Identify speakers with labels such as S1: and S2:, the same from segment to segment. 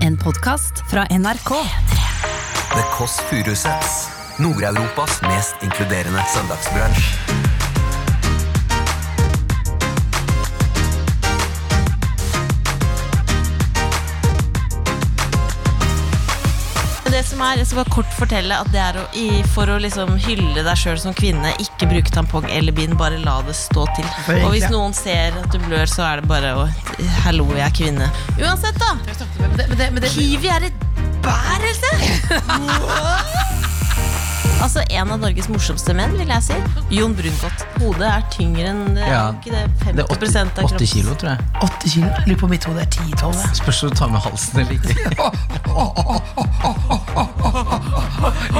S1: En podkast fra NRK.
S2: The Kåss Furuseths. Nord-Europas mest inkluderende søndagsbransj.
S3: Det som er, jeg skal bare kort fortelle at det er å, i, for å liksom hylle deg sjøl som kvinne. Ikke bruke tampong eller bind, bare la det stå til.
S4: egentlig-
S3: Og hvis noen ser at du blør, så er det bare å Hallo, jeg er kvinne. Uansett, da.
S4: Men det, men det, men det,
S3: Kiwi er et bærelse! Altså, En av Norges morsomste menn, vil jeg si. Jon Brungot. Hodet er tyngre enn det,
S5: Ja.
S3: er ikke det 50
S5: Det er 80,
S3: av kroppen.
S5: 80 kilo, tror jeg.
S4: 8 kilo? Jeg Lurer på om mitt hode er 10-12. jeg.
S5: Spørs om du tar med halsen eller ikke.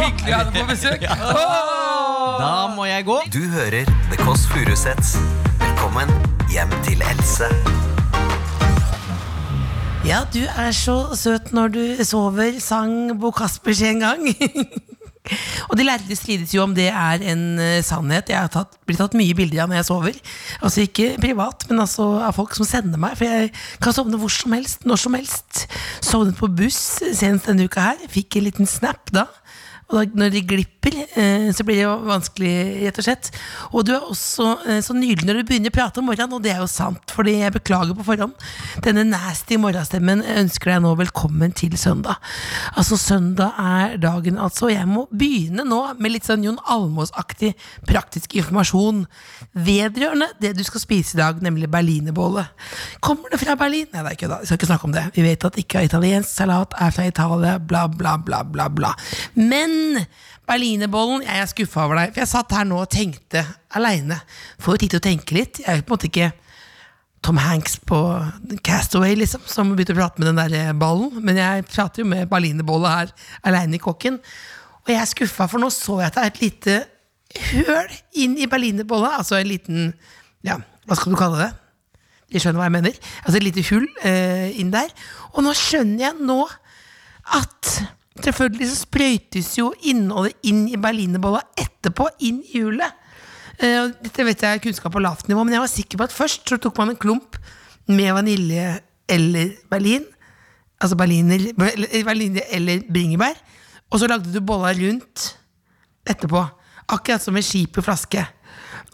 S6: Hyggelig å ha deg på besøk.
S5: Da må jeg gå.
S2: Du hører The Kåss Furuseths. Velkommen hjem til Else.
S4: Ja, du er så søt når du sover, sang Bo Kaspers en gang. Og de lærde strides jo om det er en eh, sannhet. Jeg har tatt, blitt tatt mye bilder av når jeg sover. Altså ikke privat, men altså av folk som sender meg. For jeg kan sovne hvor som helst, når som helst. Sovnet på buss senest denne uka her. Fikk en liten snap da. Og da, når de glipper, eh, så blir det jo vanskelig, rett og slett. Og du er også eh, så nydelig når du begynner å prate om morgenen, og det er jo sant, fordi jeg beklager på forhånd. Denne nasty morgenstemmen ønsker deg nå velkommen til søndag. Altså, søndag er dagen, altså. Jeg må begynne nå med litt sånn Jon Almås-aktig praktisk informasjon vedrørende det du skal spise i dag, nemlig berlinerbolle. Kommer det fra Berlin? Nei, det er ikke da. Vi skal ikke snakke om det. Vi vet at ikke italiensk salat er fra Italia, bla, bla, bla, bla, bla. Men berlinerbollen, jeg er skuffa over deg. For jeg satt her nå og tenkte aleine. Får jo tid til å tenke litt. Jeg er på en måte ikke Tom Hanks på Castaway, liksom, som begynte å prate med den der eh, ballen. Men jeg prater jo med berlinerbolle her aleine i kåken. Og jeg er skuffa, for nå så jeg at det er et lite høl inn i berlinerbolla. Altså en liten Ja, hva skal du kalle det? Jeg skjønner hva jeg mener. Altså et lite hull eh, inn der. Og nå skjønner jeg nå at selvfølgelig så sprøytes jo innholdet inn i berlinerbolla etterpå, inn i hjulet. Eh, og dette vet jeg er kunnskap på lavt nivå, men jeg var sikker på at først så tok man en klump med vanilje eller berlin. Altså berliner, eller- vanilje eller bringebær. Og så lagde du bolla rundt etterpå. Akkurat som med skip i flaske.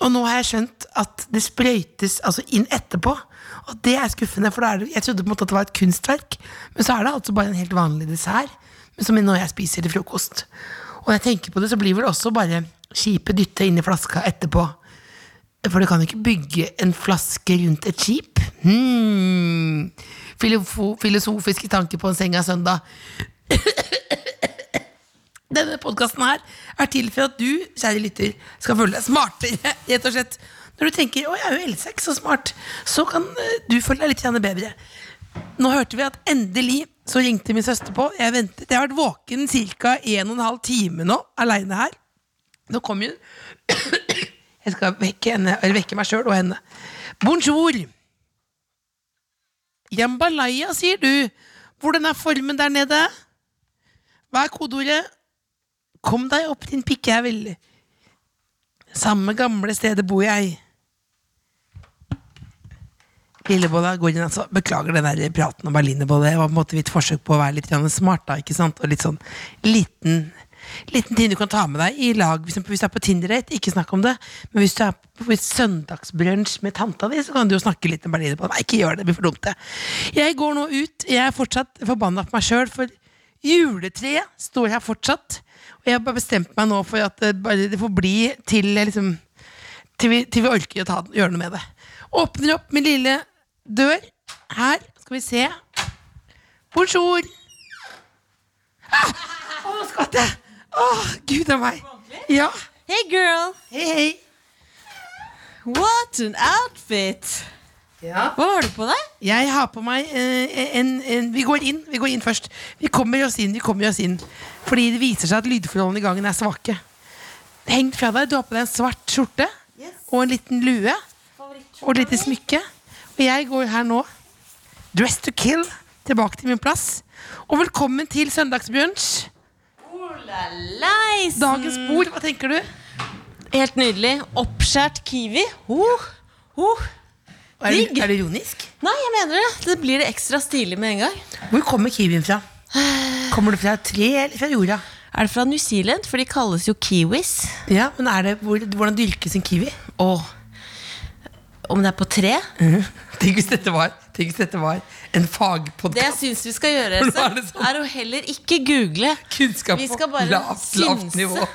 S4: Og nå har jeg skjønt at det sprøytes altså inn etterpå. Og det er skuffende, for da er det, jeg trodde på en måte at det var et kunstverk. Men så er det altså bare en helt vanlig dessert, men som når jeg spiser til frokost. Og når jeg tenker på det, så blir vel også bare skipet dytta inn i flaska etterpå. For du kan jo ikke bygge en flaske rundt et skip. Hmm. Filofo- Filosofiske tanker på en seng av søndag. Denne podkasten her er til for at du, kjære lytter, skal føle deg smartere, rett og slett. Når du tenker 'Å, jeg er jo Else, ikke så smart', så kan eh, du føle deg litt grann bedre. Nå hørte vi at endelig så ringte min søster på. Jeg ventet, jeg har vært våken ca. 1 12 time nå, aleine her. Nå kom hun. Jeg skal vekke, henne, eller vekke meg sjøl og henne. Bonjour! Jambalaya, sier du. Hvordan er formen der nede? Hva er kodeordet? Kom deg opp, din pikkjævel. Samme gamle stedet bor jeg. Lillebolla går inn, altså. Beklager den der praten om berlinerbolle. Det var på en måte mitt forsøk på å være litt grann smart. da, ikke sant? Og litt sånn liten, liten ting du kan ta med deg i lag. For eksempel Hvis du er på Tinder-date, ikke snakk om det. Men hvis du er på hvis søndagsbrunsj med tanta di, så kan du jo snakke litt om berlinerbolle. Nei, ikke gjør det. Det blir for dumt, det. Jeg går nå ut. Jeg er fortsatt forbanna på meg sjøl, for juletreet står her fortsatt. Og jeg har bare bestemt meg nå for at det, bare, det får bli til jeg liksom til vi, til vi orker å ta, den- gjøre noe med det. Åpner opp min lille dør. Her skal vi se. Bonjour! Ah! Å, nå skvatt jeg! Å, gud a meg. Ja.
S3: Hey girl,
S4: Hei, hei.
S3: what an outfit! Hva har du på deg?
S4: Jeg har på meg eh, en, en Vi går inn vi går inn først. Vi kommer oss inn. vi kommer oss inn Fordi det viser seg at lydforholdene i gangen er svake. Heng fra deg. Du har på deg en svart skjorte og en liten lue. Og et lite smykke. Og jeg går her nå, dress to kill, tilbake til min plass. Og velkommen til søndagsbrunsj.
S3: Leis!
S4: Dagens bord, hva tenker du?
S3: Helt nydelig. Oppskjært kiwi. Ho, ho.
S4: Er,
S3: Digg.
S4: det- er det ironisk?
S3: Nei, jeg mener det. Det blir det ekstra stilig med en gang.
S4: Hvor kommer kiwien fra? Kommer det fra et tre eller fra jorda?
S3: Er det fra New Zealand? For de kalles jo kiwis.
S4: Ja, men er det, hvor, Hvordan dyrkes en kiwi?
S3: Og om det er på tre?
S4: Tenk hvis dette var, tenk hvis dette var en
S3: Det jeg
S4: fagpodkast.
S3: syns vi skal gjøre,
S4: Nå
S3: Else,
S4: er det sånn.
S3: er å heller ikke google.
S4: Kunnskap
S3: Vi skal
S4: på
S3: bare
S4: lavt, lavt
S3: synse.
S4: nivå.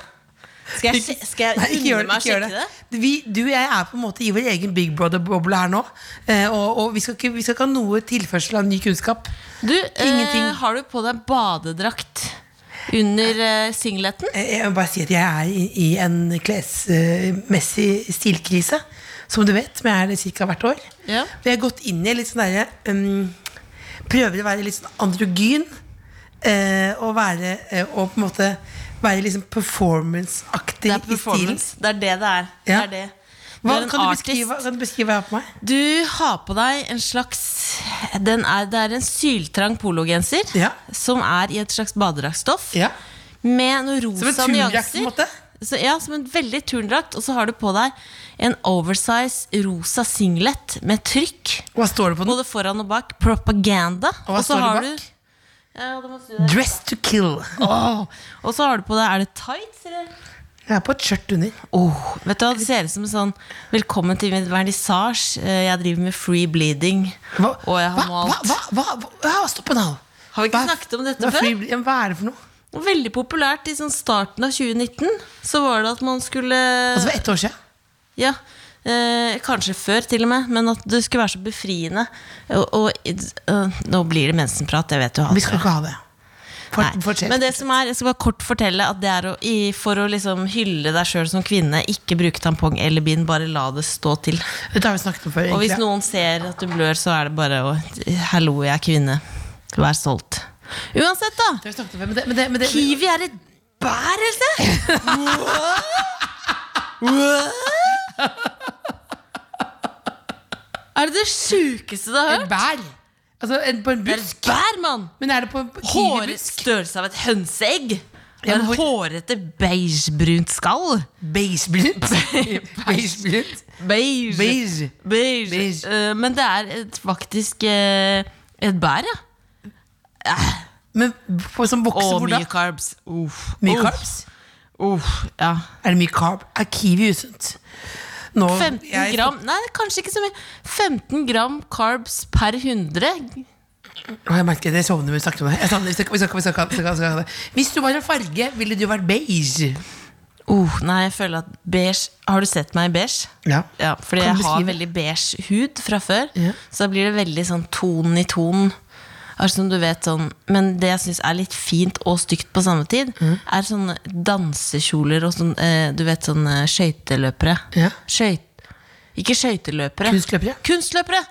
S3: Skal jeg, sje- skal
S4: Nei,
S3: jeg
S4: ikke gjør
S3: unne meg å
S4: det. Ikke gjør
S3: sjekke
S4: det.
S3: det?
S4: Vi, du og jeg er på en måte i vår egen Big Brother-boble her nå. eh, Og, og vi, skal ikke, vi skal ikke ha noe tilførsel av ny kunnskap.
S3: Du, eh,
S4: Ingenting.
S3: har du på deg badedrakt under eh, singleten?
S4: Eh, Jeg vil bare si at jeg er i, i en klesmessig stilkrise, som du vet. Men jeg er det ca. hvert år.
S3: Ja.
S4: For jeg har gått inn i litt sånn derre um, Prøver å være litt sånn androgyn. eh, og være eh, Og på en måte være liksom performance-aktig
S3: Det er
S4: i stilen.
S3: performance. Det er det det er.
S4: Ja.
S3: Det er det. Du
S4: Hva,
S3: er en
S4: kan, du
S3: artist.
S4: beskrive, kan du beskrive hva jeg har på meg?
S3: Du har på deg en slags den er, Det er en syltrang pologenser
S4: Ja.
S3: som er i et slags badedraktstoff.
S4: Ja.
S3: Med noen
S4: Som en
S3: rosa
S4: turndrakt, på
S3: nyanser.
S4: en måte?
S3: Så, ja, som en veldig turndrakt. Og så har du på deg en oversize rosa singlet med trykk.
S4: Hva står det på den?
S3: Både foran og bak. Propaganda.
S4: Og hva
S3: så
S4: står det
S3: har
S4: bak?
S3: du- Ja, det må du si der.
S4: Dress to kill.
S3: Og så har du på deg Er det tights, eller?
S4: Jeg er på et skjørt under.
S3: Oh, vet du hva, Det ser ut som en sånn 'Velkommen til min vernissasje'. Eh, Jeg driver med free bleeding.
S4: Hva,
S3: Og jeg har
S4: hva,
S3: malt.
S4: hva, hva, hva, ja, stopp en hal.
S3: Har vi ikke
S4: Hva-
S3: snakket om dette
S4: hva er
S3: før?
S4: free- ja, men Hva er det for noe?
S3: Og Veldig populært i sånn starten av 2019. Så var det at man skulle
S4: Altså for ett år siden.
S3: Ja, eh, kanskje før til og med, men at det skulle være så befriende. Og, og eh, Nå blir det mensenprat, jeg vet jo. alt.
S4: Vi skal ikke ha det. For,
S3: Nei,
S4: fortsett.
S3: Men det som er, jeg skal bare kort fortelle at det er å, i, for å liksom hylle deg sjøl som kvinne, ikke bruke tampong eller bind, bare la det stå til.
S4: Dette har vi snakket om før.
S3: Og hvis
S4: egentlig.
S3: noen ser at du blør, så er det bare å Hallo, jeg er kvinne. Vær stolt. Uansett,
S4: Det
S3: da.
S4: har vi snakket om før, men det, men det, men det,
S3: Kiwi er et bær, Else! Er det det sjukeste du har
S4: Et
S3: hørt?
S4: bær. Altså en, på en
S3: Det er et
S4: busk.
S3: bær, mann!
S4: Men er det på en på
S3: Håret
S4: kiwibusk?
S3: størrelse av et hønseegg. Ja,
S4: Ja, men hår-
S3: Hårete, beigebrunt skall.
S4: Beigeblunt. Beigeblunt.
S3: Beige.
S4: Beige.
S3: Beige.
S4: Beige.
S3: Eh, men det er et, faktisk eh, et bær, ja.
S4: Men på, som vokser
S3: Og
S4: hvor da?
S3: mye carbs. Uff.
S4: Mye
S3: Uff.
S4: carbs?
S3: Uff, ja.
S4: Er det mye carb? Er kiwi usunt? Nå-
S3: 15
S4: jeg-
S3: gram Nei, det er kanskje ikke så mye. 15 gram carbs per 100.
S4: Å, Jeg merker det, jeg sovner når vi snakker om det. Jeg savner- vi snakker- vi snakker- vi snakker- vi snakker- vi snakker om det. Hvis du var en farge, ville du vært beige?
S3: Uh, nei, jeg føler at beige Har du sett meg i beige?
S4: Ja.
S3: Ja, fordi
S4: Kan du
S3: jeg har
S4: beskrive?
S3: veldig beige hud fra før.
S4: Ja.
S3: Så da blir det veldig sånn ton i ton. Altså, som du vet, sånn, men det jeg syns er litt fint og stygt på samme tid, er sånne dansekjoler og sånn eh, Du vet sånn eh, skøyteløpere.
S4: Ja.
S3: Skøyt... Ikke skøyteløpere.
S4: Kunstløpere?
S3: Kunstløpere!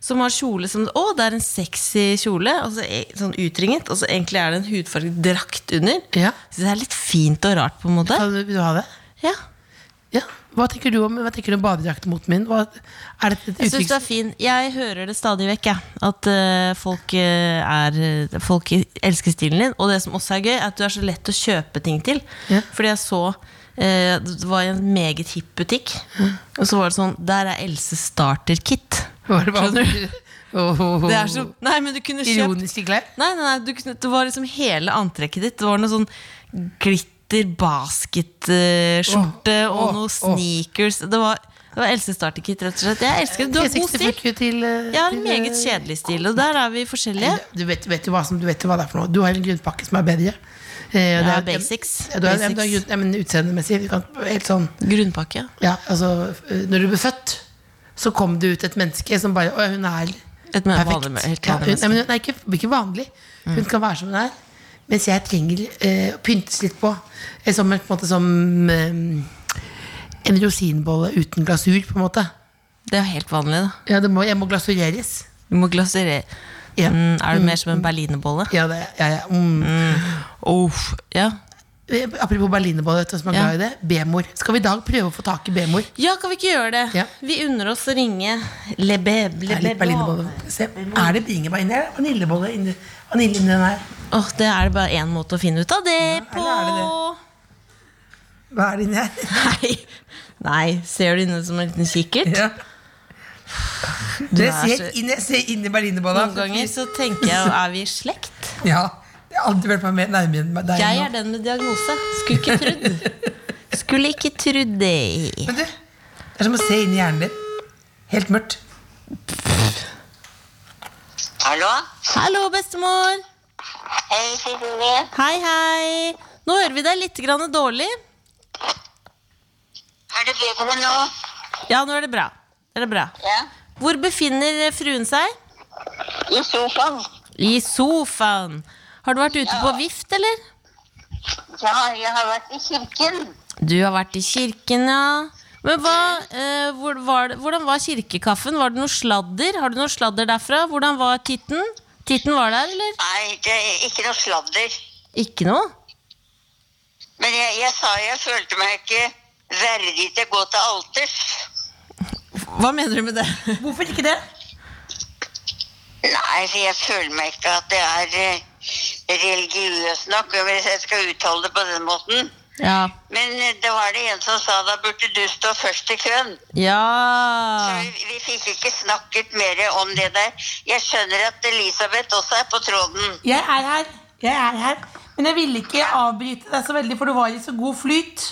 S3: Som har kjole som Å, det er en sexy kjole. Og så, e- sånn utringet, og så egentlig er det en hudfarget drakt under.
S4: Ja.
S3: Så det er litt fint og rart, på en måte.
S4: Kan du- Vil du ha det?
S3: Ja.
S4: Ja. Hva tenker du om, hva tenker du om badedraktmoten min? Hva, er det et
S3: Jeg syns
S4: uttrykk
S3: det er fin. Jeg hører det stadig vekk, jeg. At eh, folk, eh, er, folk elsker stilen din. Og det som også er gøy, er at du er så lett å kjøpe ting til.
S4: Ja.
S3: Fordi jeg så eh, Det var i en meget hipp butikk, og så var det sånn Der er Else starter-kit.
S4: Var det bare- Åh, åh, åh.
S3: Det er så Nei, men du kunne kjøpt
S4: Ironisk glad.
S3: Nei, nei, nei du kunne, det var liksom hele antrekket ditt. Det var noe sånn glitter basketskjorte
S4: Åh,
S3: og
S4: åh,
S3: noe
S4: åh.
S3: sneakers. Det var, det var Else starter-kit, rett og slett. Jeg elsker det. Du har god stil.
S4: Til, eh,
S3: Jeg har
S4: til,
S3: en
S4: eh,
S3: meget kjedelig stil, og der er vi forskjellige.
S4: Du vet, vet du, hva som, du vet jo hva det er for noe. Du har en grunnpakke som er bedre. Eh,
S3: Ja,
S4: det er-
S3: basics.
S4: Ja, du har, ja, men du har
S3: Basics.
S4: grunn- ja, men utseendemessig. vi kan- Helt sånn
S3: Grunnpakke.
S4: Ja, altså eh, Når du ble født, så kom det ut et menneske som bare Å, hun er
S3: Et Mm. mer vanlig- helt
S4: Ja,
S3: vanlig
S4: hun, nei, men hun er ikke, ikke vanlig. Hun kan være som hun er. Mens jeg trenger eh, å pyntes litt på. Eh, Som en, på en måte som eh, en rosinbolle uten glasur, på en måte.
S3: Det er helt vanlig, da.
S4: Ja, det må, jeg må glasureres.
S3: Du må glasere.
S4: Ja.
S3: Mm, er du mer som en berlinerbolle?
S4: Ja, det, ja, ja. Mm.
S3: Uff, ja.
S4: Eh, Apropos berlinerbolle, vet du hvem som er
S3: Ja.
S4: glad i det? B-mor. Skal vi i dag prøve å få tak i B-mor?
S3: ja, kan vi ikke gjøre det?
S4: Ja.
S3: Vi unner oss å ringe Lebeb.
S4: Det er litt berlinerbolle. Se, Er det bringebær inni her? Vaniljebolle inni, vanilje inni den her?
S3: Åh, det er bare én måte å finne ut av det på.
S4: Hva er det inni her?
S3: Nei. Nei, ser du inne som en liten kikkert?
S4: Ja. Dere
S3: er
S4: ser
S3: så-
S4: inn, jeg ser inn i
S3: Noen
S4: berlinerbanen.
S3: ganger så tenker jeg er vi i slekt?
S4: Ja, jeg har aldri vært meg mer nærmere enn deg.
S3: Jeg
S4: nå.
S3: er den med diagnose. Skulle ikke trudd. Skulle ikke trudd det.
S4: Men du, det er som å se inn i hjernen din. Helt mørkt.
S7: Hallo?
S3: Hallo, bestemor.
S7: Hei, Cecilie.
S3: Hei, hei. Nå hører vi deg litt grann dårlig.
S7: Er det bedre nå?
S3: Ja, nå er det bra. Det er bra.
S7: Ja.
S3: Hvor befinner fruen seg?
S7: I sofaen.
S3: I sofaen. Har du vært ute på vift, eller?
S7: Ja, jeg har vært i kirken.
S3: Du har vært i kirken, ja. Men hva, eh, hvor var det, hvordan var kirkekaffen? Var det noe sladder? Har du noe sladder derfra? Hvordan var titten? Titten var der, eller?
S7: Nei, det er ikke noe sladder.
S3: Ikke noe?
S7: Men jeg, jeg sa jeg følte meg ikke verdig til å gå til alters.
S3: Hva mener du med det? Hvorfor ikke det?
S7: Nei, for jeg føler meg ikke at det er eh, religiøs nok, hvis jeg skal uttale det på den måten.
S3: Ja.
S7: Men eh, det var det en som sa da burde du stå først i køen. Så
S3: Ja.
S7: vi, vi fikk ikke snakket mer om det der. Jeg skjønner at Elisabeth også er på tråden.
S4: Jeg er her. Jeg er her. Men jeg ville ikke avbryte deg så veldig, for du var i så god flyt.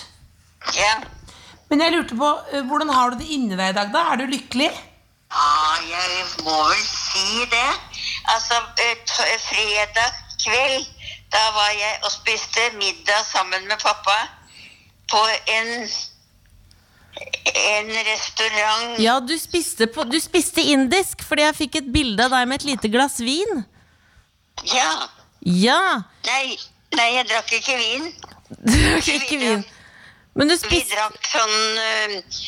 S7: Ja.
S4: Men jeg lurte på, eh, hvordan har du det inni deg i dag, da? Er du lykkelig?
S7: ja, Ah, jeg må vel si det. Altså, eh, t- fredag kveld, da var jeg og spiste middag sammen med pappa på en en restaurant.
S3: Ja, du spiste, på, du spiste indisk fordi jeg fikk et bilde av deg med et lite glass vin.
S7: Ja.
S3: Ja.
S7: Nei, nei, jeg drakk ikke vin.
S3: Du drakk ikke vin. Men du
S7: Vi
S3: spiste
S7: drakk sånn eh,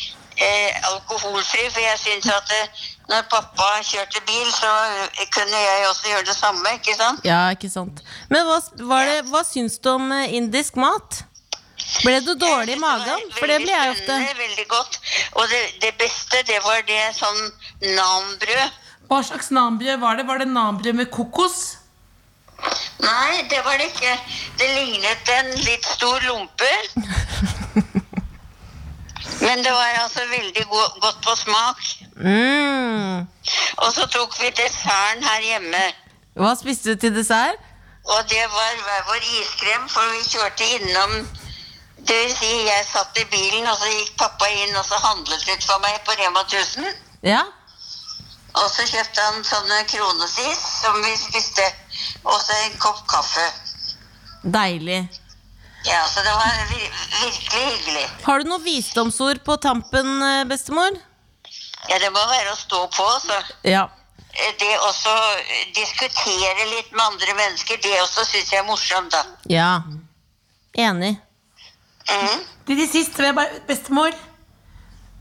S7: eh, alkoholfri, for jeg syns at eh, når pappa kjørte bil, så eh, kunne jeg også gjøre det samme, ikke sant?
S3: Ja, ikke sant. Men hva, var det, hva syns du om eh, indisk mat? Ble du dårlig i magen? For det blir jeg
S7: Eh,
S3: ofte.
S7: Veldig spennende, Veldig godt. Og det, det beste, det var det sånn nanbrød.
S4: Hva slags nanbrød var det? Var det nanbrød med kokos?
S7: Nei, det var det ikke. Det lignet en litt stor lompe. Men det var altså veldig go godt på smak.
S3: Mm.
S7: Og så tok vi desserten her hjemme.
S3: Hva spiste du til dessert?
S7: Og det var hver vår iskrem, for vi kjørte innom Det vil si, jeg satt i bilen, og så gikk pappa inn og så handlet litt for meg på Rema 1000.
S3: Ja.
S7: Og så kjøpte han sånne kronesis som vi spiste, og så en kopp kaffe.
S3: Deilig.
S7: Ja, så det var vir virkelig hyggelig.
S3: Har du noen visdomsord på tampen, eh, bestemor?
S7: Ja, det må være å stå på, så.
S3: Ja.
S7: Eh, Det også eh, diskutere litt med andre mennesker, det også syns jeg er morsomt, da.
S3: Ja. Enig.
S7: Mhm.
S4: Til de siste vil jeg bare Bestemor.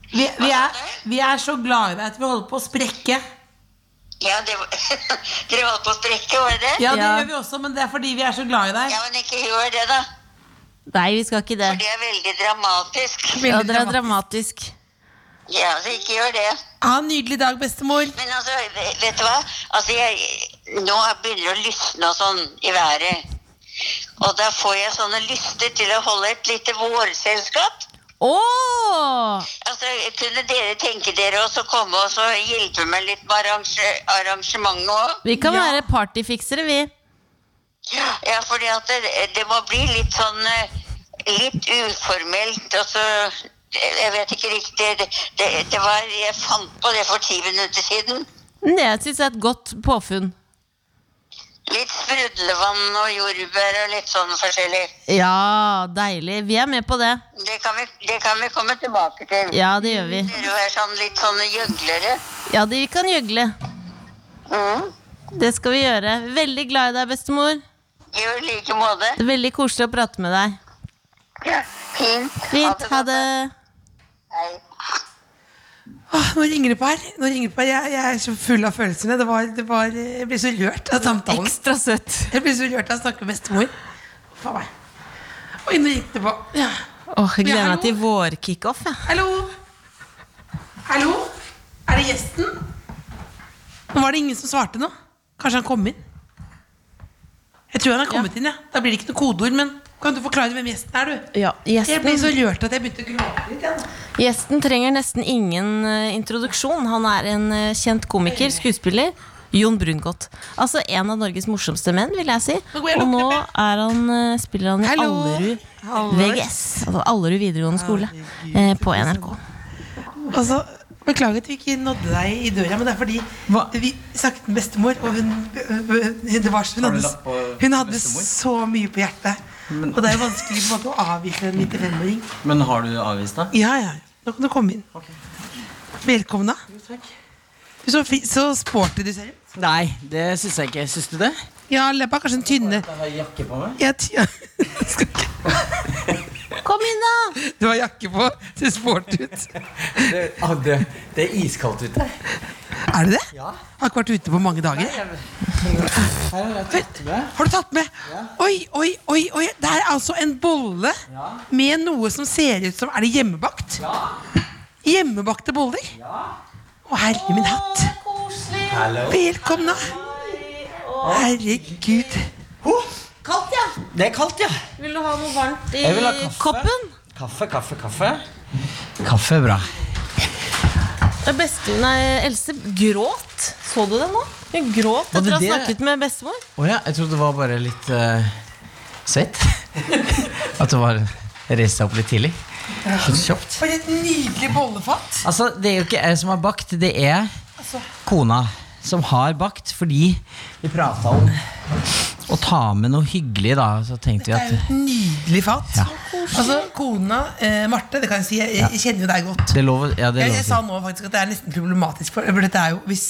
S4: Vi, vi, er, vi er så glad i deg at vi holder på å sprekke.
S7: Ja, det var Dere holdt på å strekke, var det det?
S4: Ja, det
S3: Ja.
S4: gjør vi også, men det er fordi vi er så glad i deg.
S7: Ja, men ikke gjør det, da.
S3: Nei, vi skal ikke det.
S7: For det er veldig dramatisk.
S3: Ja, det er dramatisk.
S7: Ja, så ikke gjør det.
S4: Ha en nydelig dag, bestemor.
S7: Men altså, ve- vet du hva? Altså, jeg, nå begynner det å lysne og sånn i været. Og da får jeg sånne lyster til å holde et lite vårselskap.
S3: Å!
S7: Altså, kunne dere tenke dere også å komme og så hjelpe meg litt med arrange arrangementet òg?
S3: Vi kan være partyfiksere, vi.
S7: Ja, fordi at det, det må bli litt sånn eh, Litt uformelt. Altså, jeg vet ikke riktig det, det, det var, Jeg fant på det for ti minutter siden.
S3: Det syns jeg er et godt påfunn.
S7: Litt sprudlevann og jordbær og litt sånn forskjellig.
S3: Ja, deilig. Vi er med på det.
S7: Det kan vi, det kan vi komme tilbake til.
S3: Ja, det gjør vi.
S7: Dere er sånn litt sånne gjøglere.
S3: Ja, det, vi kan gjøgle.
S7: Mm.
S3: Det skal vi gjøre. Veldig glad i deg, bestemor.
S7: I jo like måte.
S3: Det er veldig koselig å prate med deg.
S7: Ja. Fint.
S3: Fint. Ha
S7: godt.
S3: det.
S7: Hei.
S4: Åh, nå ringer det på her. Nå ringer det på her. Jeg, jeg er så full av følelsene. Det var, det var, jeg blir så rørt av samtalen.
S3: Ekstra søtt.
S4: Jeg blir så rørt av å snakke med bestemor. Faen meg. Oi, nå gikk det på. Ja.
S3: Åh, jeg gleder
S4: Ja,
S3: meg til vårkickoff. jeg.
S4: Hallo? Hallo? Er det gjesten? Nå var det ingen som svarte nå. Kanskje han kom inn? Jeg tror han har kommet inn, ja. Da blir det ikke noe kodeord, men kan du forklare hvem gjesten er, du? Jeg ble så rørt at jeg begynte å gråte litt. Jeg, nå.
S3: Gjesten trenger nesten ingen eh, introduksjon. Han er en eh, kjent komiker, skuespiller. Jon Brungot. Altså en av Norges morsomste menn, vil jeg si. Og nå er han, eh, spiller han i
S4: Hallo.
S3: Allerud
S4: Hallo.
S3: VGS. Altså Allerud videregående skole eh, på NRK.
S4: Altså, Beklager at vi ikke nådde deg i døra, men det er fordi
S5: Hva?
S4: vi snakket med bestemor, og hun, øh, det var, hun,
S5: Har du
S4: hadde,
S5: lapp på
S4: hun hadde
S5: bestemor?
S4: så mye på hjertet. og det er jo vanskelig på en måte å avvise en 95-åring.
S5: Men har du avvist da?
S4: Ja, ja. Nå kan du komme inn. Velkommen, da. Du så, fi- så sporty du ser ut.
S5: Nei, det syns jeg ikke. Syns du det?
S4: Ja, leppa er kanskje den tynne.
S5: Jeg har jakke på meg.
S4: Ja, ty Skal ikke-
S3: Kom inn, da!
S4: Du har jakke på. Ser sporty ut.
S5: Det, ah, det, det er iskaldt ute.
S4: Er du det? Ja. Har ikke vært ute på mange dager.
S5: Her har jeg tatt med.
S4: Har du tatt med? Oi, oi, oi, oi. Det er altså en bolle med noe som ser ut som Er det hjemmebakt? Ja. Hjemmebakte boller? Ja. Å, herre min hatt. Velkomna. Herregud.
S3: Kaldt, ja.
S5: Det er kaldt, ja.
S3: Vil du ha noe varmt i
S5: Jeg vil ha kaffe.
S3: koppen?
S5: Kaffe, kaffe, kaffe. Kaffe er bra.
S3: Ja, Bestevenninna Else gråt. Så du det nå? Hun gråt
S5: Var
S3: etter
S5: det
S3: å ha
S5: det?
S3: snakket med bestemor.
S5: Å ja, jeg trodde det var bare litt eh, svett. At det var reiste seg opp litt tidlig. Litt kjapt.
S4: For et nydelig bollefat.
S5: Altså, det er jo ikke jeg som har bakt, det er
S4: Altså.
S5: kona som har bakt, fordi vi prata om å ta med noe hyggelig, da. Så tenkte vi
S4: Det er jo
S5: at
S4: et nydelig fat.
S5: Ja.
S4: Altså, kona eh, Marte, det kan jeg si, jeg, jeg kjenner jo deg godt.
S5: det er lov å Ja, det er
S4: Jeg,
S5: lov
S4: jeg
S5: å
S4: sa
S5: si.
S4: nå faktisk at det er nesten problematisk, for, for dette er jo hvis,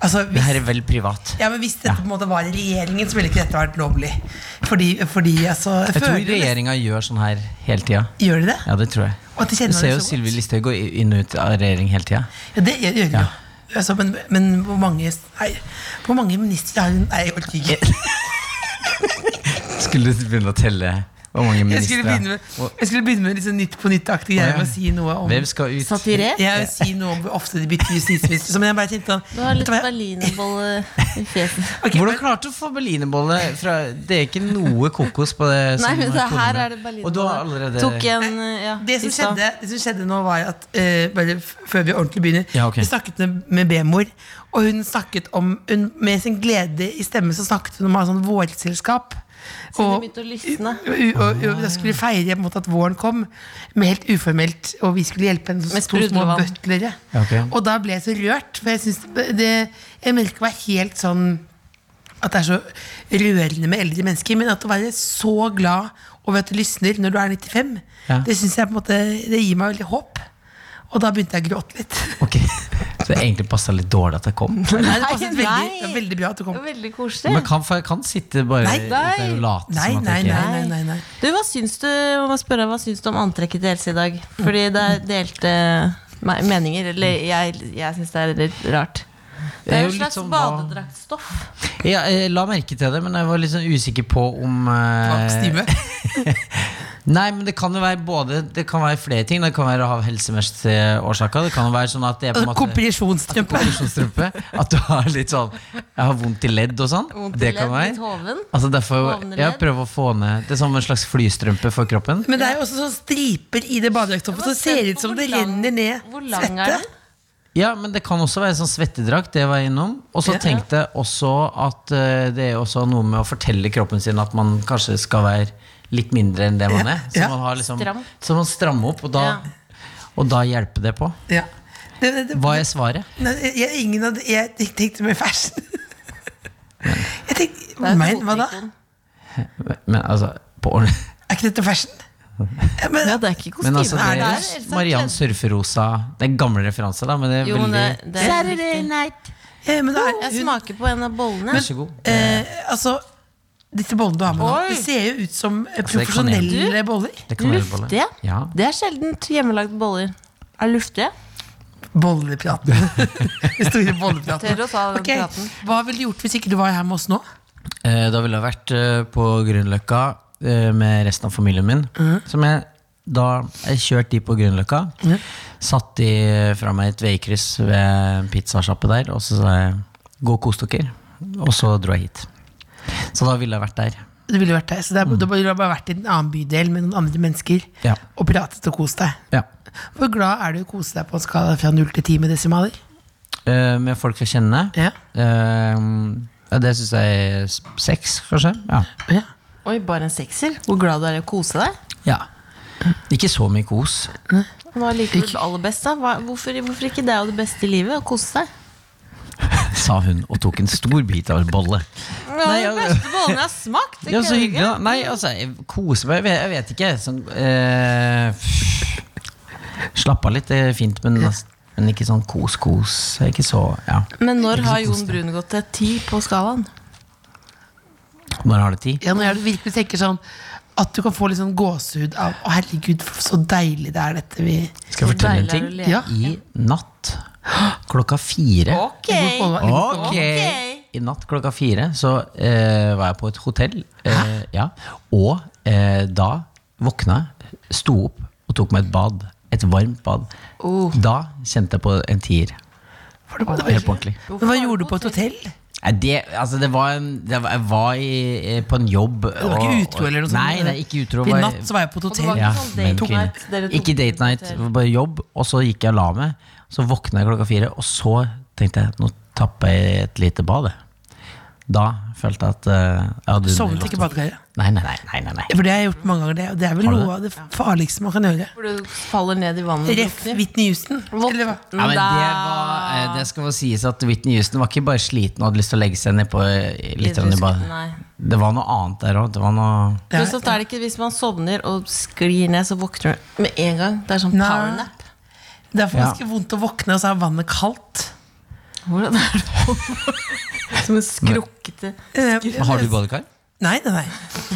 S4: altså,
S5: Det
S4: hvis
S5: her er vel privat.
S4: Ja, men Hvis dette på en måte var i regjeringen, så ville ikke dette vært lovlig. Fordi, fordi altså
S5: Jeg tror
S4: føler-
S5: regjeringa gjør sånn her hele tida.
S4: Gjør de det?
S5: Ja, det tror jeg.
S4: Og at de kjenner
S5: Du ser
S4: det
S5: jo
S4: så
S5: Sylvi
S4: godt.
S5: Listhaug gå inn og ut av regjering hele tida.
S4: Ja, det gjør gjør de jo. Altså, men, men hvor mange Nei, hvor mange ministre har hun Nei, jeg orker ikke.
S5: Skulle du begynne å telle hvor mange
S4: Jeg skulle
S5: ministre
S4: begynne med, jeg skulle begynne med liksom Nytt på
S5: Å,
S4: nytt-aktig greier
S5: ja.
S4: med å si noe om
S5: Hvem skal ut?
S3: Satire.
S4: Jeg vil si noe om hvor ofte de bytter justisminister. Så, Men jeg bare tenkte
S3: Du har litt
S4: sånn
S3: berlinerbolle i fjeset.
S5: Hvordan klarte du å få berlinerbolle fra Det er ikke noe kokos på det.
S3: Nei,
S5: som
S3: men det
S5: kona
S3: her
S5: med.
S3: er det berlinerbolle.
S5: Og du har allerede
S3: Tok en, eh, ja,
S4: det som,
S3: i stad.
S4: skjedde, det som skjedde nå, var at eh, Bare f- før vi ordentlig begynner
S5: Ja, ok.
S4: Vi snakket med, med B-mor, og hun snakket om hun, Med sin glede i stemme så snakket hun om å ha sånn vårselskap.
S3: Hun
S4: Og,
S3: begynte å lysne.
S4: og, og, og da skulle vi feire på en måte at våren kom, men helt uformelt. Og vi skulle hjelpe henne
S3: Med
S4: med to små
S3: sprudlevann.
S4: butlere.
S5: Ja, ok.
S4: Og da ble jeg så rørt, for jeg syns det, det- Jeg merker meg helt sånn at det er så rørende med eldre mennesker, men at å være så glad over at det lysner når du er 95,
S5: Ja.
S4: det syns jeg på en måte Det gir meg veldig håp. Og da begynte jeg å gråte litt.
S5: Ok, Så det egentlig passa litt dårlig at jeg kom.
S4: Nei, det passet
S3: nei.
S4: veldig, det var veldig bra at du kom.
S3: Veldig
S5: Men jeg
S3: koselig.
S5: kan, for jeg kan sitte bare
S4: Nei.
S5: der og late
S4: Nei,
S5: som at
S4: nei,
S5: jeg ikke
S4: nei. nei, nei, nei.
S3: Du, hva syns du, jeg må spørre, hva syns du om antrekket til Else i dag? Fordi det er delte me- meninger. Eller jeg, jeg syns det er litt rart. Det er jo
S5: jo
S3: en
S5: litt
S3: slags
S5: sånn hva-
S3: badedraktstoff.
S5: ja, Jeg la merke til det, men jeg var litt sånn usikker på om
S4: Takk,
S5: eh,
S4: Stine.
S5: Nei, men det kan jo være både Det kan være flere ting. Det kan være av helsemessige årsaker. Det kan jo være sånn at det er på en
S4: Altså,
S5: måte
S4: Kompresjonsstrømpe.
S5: kompresjonsstrømpe. At du har litt sånn Jeg har vondt i ledd og sånn.
S3: Vondt i
S5: Det kan
S3: ledd, litt
S5: være.
S3: hoven.
S5: Altså derfor
S3: Hovne
S5: ja,
S3: ledd.
S5: Prøve å få ned Det er som en slags flystrømpe for kroppen.
S4: Men det er jo også sånn striper i det badedraktstoffet som ser ut som det renner ned
S3: Hvor lang er den?
S5: Ja, men det kan også være sånn svettedrakt. Det var jeg innom. Og så
S4: Ja.
S5: tenkte jeg også at eh, det er også noe med å fortelle kroppen sin at man kanskje skal være litt mindre enn det man
S4: Ja,
S5: er. Så
S4: ja.
S5: man, har liksom,
S3: Stram.
S5: så man strammer opp, og da,
S3: Ja.
S5: og da hjelper det på.
S4: Ja. Det, det, det,
S5: Hva er svaret?
S4: Nei, jeg, ingen av de, jeg tenk- tenkte med fashion. Jeg tenkte,
S3: et
S4: men hva da?
S3: moteikon.
S5: Men altså, på ordentlig
S4: Er ikke dette fashion? Ja, men,
S3: Ja, det er ikke kostyme.
S5: Men altså,
S4: Nei,
S5: det
S4: det
S5: er
S3: er-
S5: jo Mariann Surferosa Det er en gammel referanse, da, men det er
S3: Jo, men
S5: veldig
S3: det, det er Saturday night.
S4: ja, men det er,
S3: Jeg
S4: hun,
S3: smaker på en av bollene.
S5: Vær så god.
S4: eh, altså, disse bollene du har med nå,
S3: Oi.
S4: det ser jo ut som eh,
S5: Altså, det er sånn kanel.
S4: profesjonelle boller.
S5: Det
S3: eh,
S5: kan være bolle.
S3: Luftige.
S5: Ja.
S3: Det er sjelden hjemmelagde boller. Er luftige?
S4: Bollepraten. Den store bollepraten.
S3: Tør å ta den
S4: Ok,
S3: praten.
S4: Hva ville du gjort hvis ikke du var her med oss nå?
S5: Eh, Da ville jeg vært eh, på Grünerløkka eh, med resten av familien min. Som jeg da jeg kjørte de på Grünerløkka. Satt de fra meg et veikryss ved en pizzasjappe der, og så sa jeg 'gå og kos dere'. Og så dro jeg hit. Så da ville jeg vært der.
S4: Du ville vært der, så det er, Du ville bare vært i en annen bydel med noen andre mennesker
S5: Ja.
S4: og pratet og kost deg.
S5: Ja.
S4: Hvor glad er du i å kose deg på en skala fra null til ti med desimaler?
S5: Eh, med folk jeg kjenner.
S4: Ja.
S5: Eh, ja, det syns jeg er s- seks, kanskje. Ja.
S4: Ja.
S3: Oi, bare en sekser. Hvor glad du er i å kose deg.
S5: ja. Ikke så mye kos.
S3: Hva liker du aller best, da? Hva, hvorfor, hvorfor ikke det er jo det beste i livet? Å kose seg.
S5: sa hun og tok en stor bit av en bolle. Nei,
S3: det
S5: ja,
S3: er de beste bollene jeg har smakt. det
S5: Ja, så
S3: kødder
S5: hyggelig.
S3: ikke.
S5: da. Nei, altså, jeg koser meg. Jeg vet, jeg vet ikke. Sånn, eh, pff. slapp av litt, det er fint, men, men ikke sånn kos-kos. Jeg er Ikke så Ja.
S3: Men når har Jon Brun gått til ti på skalaen?
S5: Når har det tid?
S4: Ja, når jeg virkelig tenker sånn at du kan få litt sånn gåsehud av Å, herregud, så deilig det er dette vi
S5: Skal jeg
S3: Hvor
S5: fortelle en
S3: deilig er
S5: ting?
S3: det å leve?
S4: Ja.
S5: I natt klokka fire
S3: Ok.
S4: holde-
S5: Ok. I natt klokka fire så eh, var jeg på et hotell. Eh, ja. Og eh, da våkna jeg, sto opp og tok meg et bad. Et varmt bad. Da kjente jeg på en tier.
S4: For det var-
S5: Helt på ordentlig.
S4: Men hva gjorde du på et hotell?
S5: Nei, det, altså det var en, det var, jeg var i, eh, på en jobb
S4: Du var ikke utro eller noe sånt?
S5: Nei, det er ikke utro.
S4: For I
S5: var-
S4: natt så var jeg på et
S3: det var
S4: hotell.
S3: ikke
S5: ja,
S3: sånn
S5: men
S3: date
S5: kvinne.
S3: night, dere to
S5: Ikke date night,
S3: hotel.
S5: bare jobb. Og så gikk jeg og la meg. Så våkna jeg klokka fire, og så tenkte jeg nå tapper jeg et lite bad. jeg. Da følte jeg at eh, jeg hadde
S4: Sovnet ikke i badekaret.
S5: Nei, nei, nei. nei, nei, nei.
S4: For det har jeg gjort mange ganger, det. Og det er
S5: du
S4: vel
S5: det?
S4: noe av det farligste man kan gjøre.
S3: Hvor du faller ned i vannet. og
S4: Ref.
S3: drukner.
S4: Whitney Houston. Eller hva?
S5: Ja, men det, var, eh, det skal vel sies at Whitney Houston var ikke bare sliten og hadde lyst til å legge seg nedpå litt grann i badet.
S3: Nei.
S5: Det var noe annet der òg. Det var noe
S4: Ja.
S3: Pluss at det er det ikke hvis man sovner og sklir ned, så våkner du med en gang. Det er sånn
S4: Nei.
S3: powernap.
S4: Det er for
S5: Ja.
S4: ganske vondt å våkne, og så er vannet kaldt.
S3: Hvordan er det Som en skrukkete
S4: Eh,
S5: Har du badekar?
S4: Nei, nei, nei.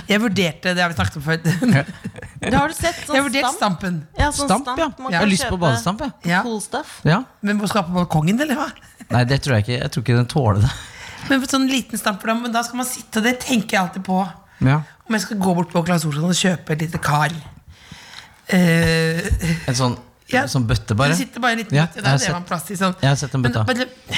S4: Jeg vurderte det har vi snakket om før. Jeg
S3: Det har du sett. Sånn
S4: vurderte
S3: stamp.
S4: stampen.
S3: Ja, sånn
S5: Stamp, ja.
S3: Man
S5: Jeg har
S3: kan
S5: lyst på
S3: kjøpe
S5: badestamp. jeg.
S4: Ja.
S3: Cool stuff.
S5: Ja.
S4: Men må skal på balkongen, eller hva?
S5: Nei, det tror jeg ikke. Jeg tror ikke den tåler det.
S4: Men på sånn liten stamp, for da, men da skal man sitte, og det tenker jeg alltid på.
S5: Ja.
S4: Om jeg skal gå bort på Claes Olsson og kjøpe et lite kar. Eh,
S5: En sånn,
S4: Ja.
S5: sånn bøtte, bare?
S4: det sitter bare en liten
S5: Ja,
S4: bøtte,
S5: jeg
S4: der
S5: har
S4: er det
S5: sett-
S4: man plass til. Sånn.
S5: Jeg har sett den bøtta.
S4: Men, bare-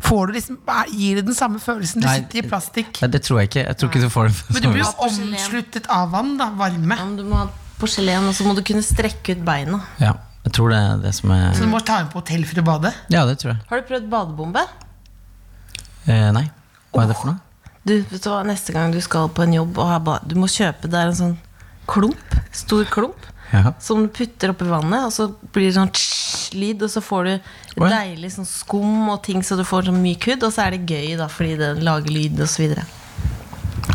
S4: får du liksom, er- gir det den samme følelsen? Du
S5: Nei,
S4: sitter i plastikk.
S5: Nei, det tror jeg ikke. Jeg tror ikke du får den.
S4: Men du blir jo
S3: Porselen.
S4: omsluttet av vann, da. Varme.
S3: Ja, men du må ha porselen, og så må du kunne strekke ut beina.
S5: Ja, jeg tror det er det som er
S4: Så du må ta inn på hotell for å bade.
S5: Ja, det tror jeg.
S3: Har du prøvd badebombe?
S5: Eh, nei. Hva er det for noe?
S3: Du, vet du hva, Neste gang du skal på en jobb og ha bad, du må kjøpe deg en sånn klump. Stor klump.
S5: Ja.
S3: Som du putter oppi vannet, og så blir det sånn tss lyd, og så får du
S5: Oi.
S3: deilig sånn skum og ting, så du får sånn myk hud, og så er det gøy da, fordi det lager lyd og så videre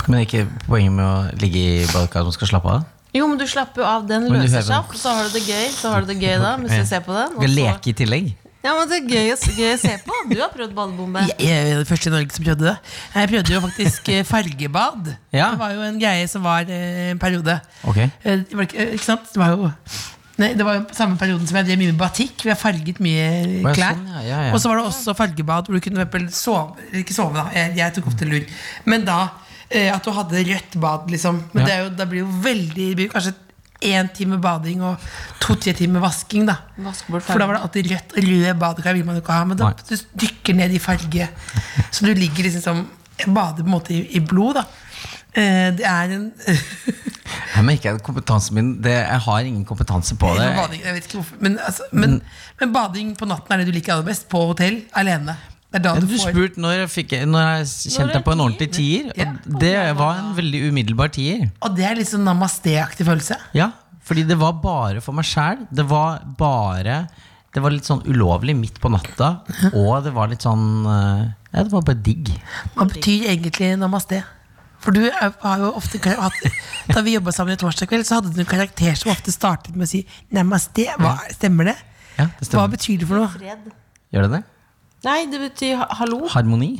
S5: Men det er ikke poenget med å ligge i badekaret man skal slappe av?
S3: Jo, men du slapper jo av, den
S5: Men du
S3: løser
S5: hører-
S3: seg opp, så har du det gøy, så har du det gøy da, mens du ser på den. og
S5: Skal
S3: så-
S5: leke i tillegg?
S3: Ja, men det er gøy, å- gøy å se på. Du har prøvd badebombe.
S4: Jeg jeg er den første i Norge som prøvde det. Jeg prøvde jo faktisk eh, fargebad.
S5: Ja.
S4: Det var jo en greie som var eh, en periode.
S5: Ok.
S4: Eh, Det var ikke, eh, ikke sant? Det var jo Nei, det var jo samme perioden som jeg drev mye med batikk. Vi har farget mye eh,
S5: Å, ja,
S4: klær.
S5: sånn, ja, ja, ja.
S4: Og så var det også fargebad hvor du kunne for eksempel sove eller Ikke sove, da. Jeg, jeg tok ofte lur. Men da eh, at du hadde rødt bad, liksom.
S5: Ja.
S4: Men det, er jo, det blir jo veldig det blir jo Kanskje én time bading og to-tre timer vasking, da.
S3: Vask bort
S4: For da var det alltid rødt og rød badekar vil man jo ikke ha. Men da,
S5: Nei.
S4: du dykker ned i farge. Så du ligger liksom som Bader på en måte i, i blod, da. Eh, det er en
S5: Jeg merker at kompetansen min det, Jeg har ingen kompetanse på det.
S4: bading, jeg vet ikke hvorfor men, altså, men, men bading på natten er det du liker aller best. På hotell, alene. Det er da
S5: Men
S4: du
S5: Du
S4: får
S5: spurte når jeg, fikk, når jeg kjente jeg på en ordentlig tier. Og det var en veldig umiddelbar tier.
S4: Og det er litt sånn namaste-aktig følelse.
S5: Ja, fordi det var bare for meg sjæl. Det var bare Det var litt sånn ulovlig midt på natta, og det var litt sånn eh, Ja, det var bare digg.
S4: Hva betyr egentlig namaste? For du er- har jo ofte kar- hatt Da vi jobba sammen i torsdag kveld, så hadde du en karakter som ofte startet med å si namaste. Hva, stemmer det?
S5: Ja, det
S4: Hva
S5: stemmer.
S4: betyr det for noe?
S3: Fred.
S5: Gjør det det?
S3: Nei, det betyr ha hallo.
S5: Harmoni?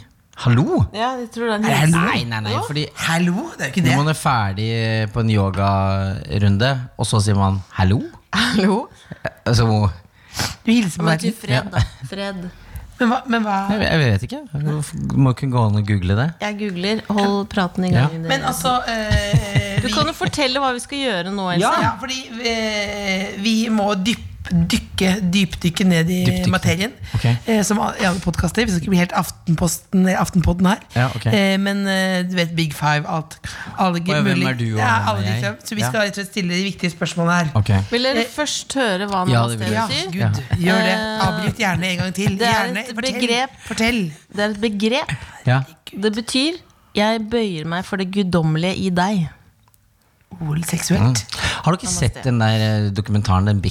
S5: Hallo?
S3: Ja, jeg tror det er en hilsen.
S5: Nei, nei, nei, fordi
S4: Hallo? Det er jo ikke
S5: når
S4: det.
S5: man er ferdig på en yogarunde, og så sier man 'hallo'?
S3: Hallo.
S5: Altså,
S4: Du
S3: Det
S4: hilser på
S3: betyr
S4: verden.
S5: Ja.
S3: fred, da. Fred.
S4: Men hva, men hva
S5: jeg, jeg vet ikke. Jeg må kunne gå an og google det.
S3: Jeg googler. Hold praten i
S5: Ja.
S3: gang. dere.
S4: Men altså eh,
S3: Du
S4: vi,
S3: kan jo fortelle hva vi skal gjøre nå, Else.
S4: ja, fordi eh, vi må dyppe dykke, dypdykke ned i
S5: Dypdykke.
S4: materien.
S5: Ok.
S4: Eh, som i alle podkaster. Vi skal ikke bli helt Aftenposten, eh, Aftenpodden her.
S5: Ja, ok.
S4: eh, men eh, du vet Big Five, alt. Alle,
S5: hvem
S4: mulig-
S5: er du, og
S4: ja,
S5: hvem er
S4: alle de
S5: jeg?
S4: fem. Så vi
S5: Ja.
S4: skal rett og slett stille de viktige spørsmålene her.
S5: Ok.
S3: Vil dere først høre hva
S5: Ja,
S3: namaste
S5: det vil jeg.
S3: betyr?
S4: Gud, gjør det.
S3: Eh,
S4: Avbryt gjerne en gang til.
S3: det er
S4: Gjerne,
S3: et
S4: fortell,
S3: begrep.
S4: Fortell.
S3: Det er et begrep.
S5: Ja.
S3: Det betyr 'jeg bøyer meg for det guddommelige i deg'.
S4: OL seksuelt.
S5: Har du ikke sett den der eh, dokumentaren Den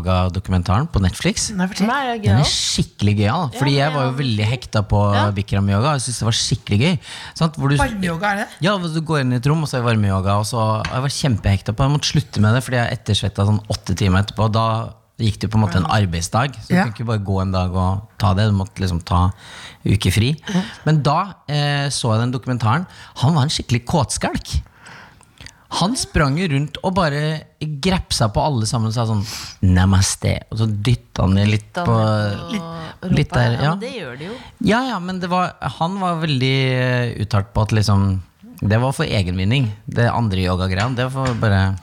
S5: Bikram-yoga-dokumentaren på Netflix?
S4: Nei, fortell.
S3: Nei, det er
S5: Den
S3: gøy.
S5: er skikkelig gøyal. Fordi
S3: men
S5: jeg var jo
S3: jeg-
S5: veldig hekta på
S3: Ja.
S5: Bikram-yoga. Jeg synes det var skikkelig gøy. Sant? Hvor du,
S4: Varmeyoga, er det?
S5: ja, hvor du går inn i et rom, og så er det varmeyoga. Og så jeg var kjempehekta på Jeg måtte slutte med det fordi jeg ettersvetta sånn åtte timer etterpå. Da gikk det jo på en måte en arbeidsdag. Så du
S4: Ja.
S5: kunne ikke bare gå en dag og ta det. Du måtte liksom ta uke fri. Men da eh, så jeg den dokumentaren. Han var en skikkelig kåtskalk. Han sprang jo rundt og bare grepsa på alle sammen og sa sånn Namaste. Og så dytta han det litt
S3: Da-
S5: på
S3: og
S5: litt
S3: rumpa.
S5: der, ja.
S3: men Det gjør det jo.
S5: Ja, ja, men det var, han var veldig eh, uttalt på at liksom Det var for egenvinning. Det andre yogagreia, det var bare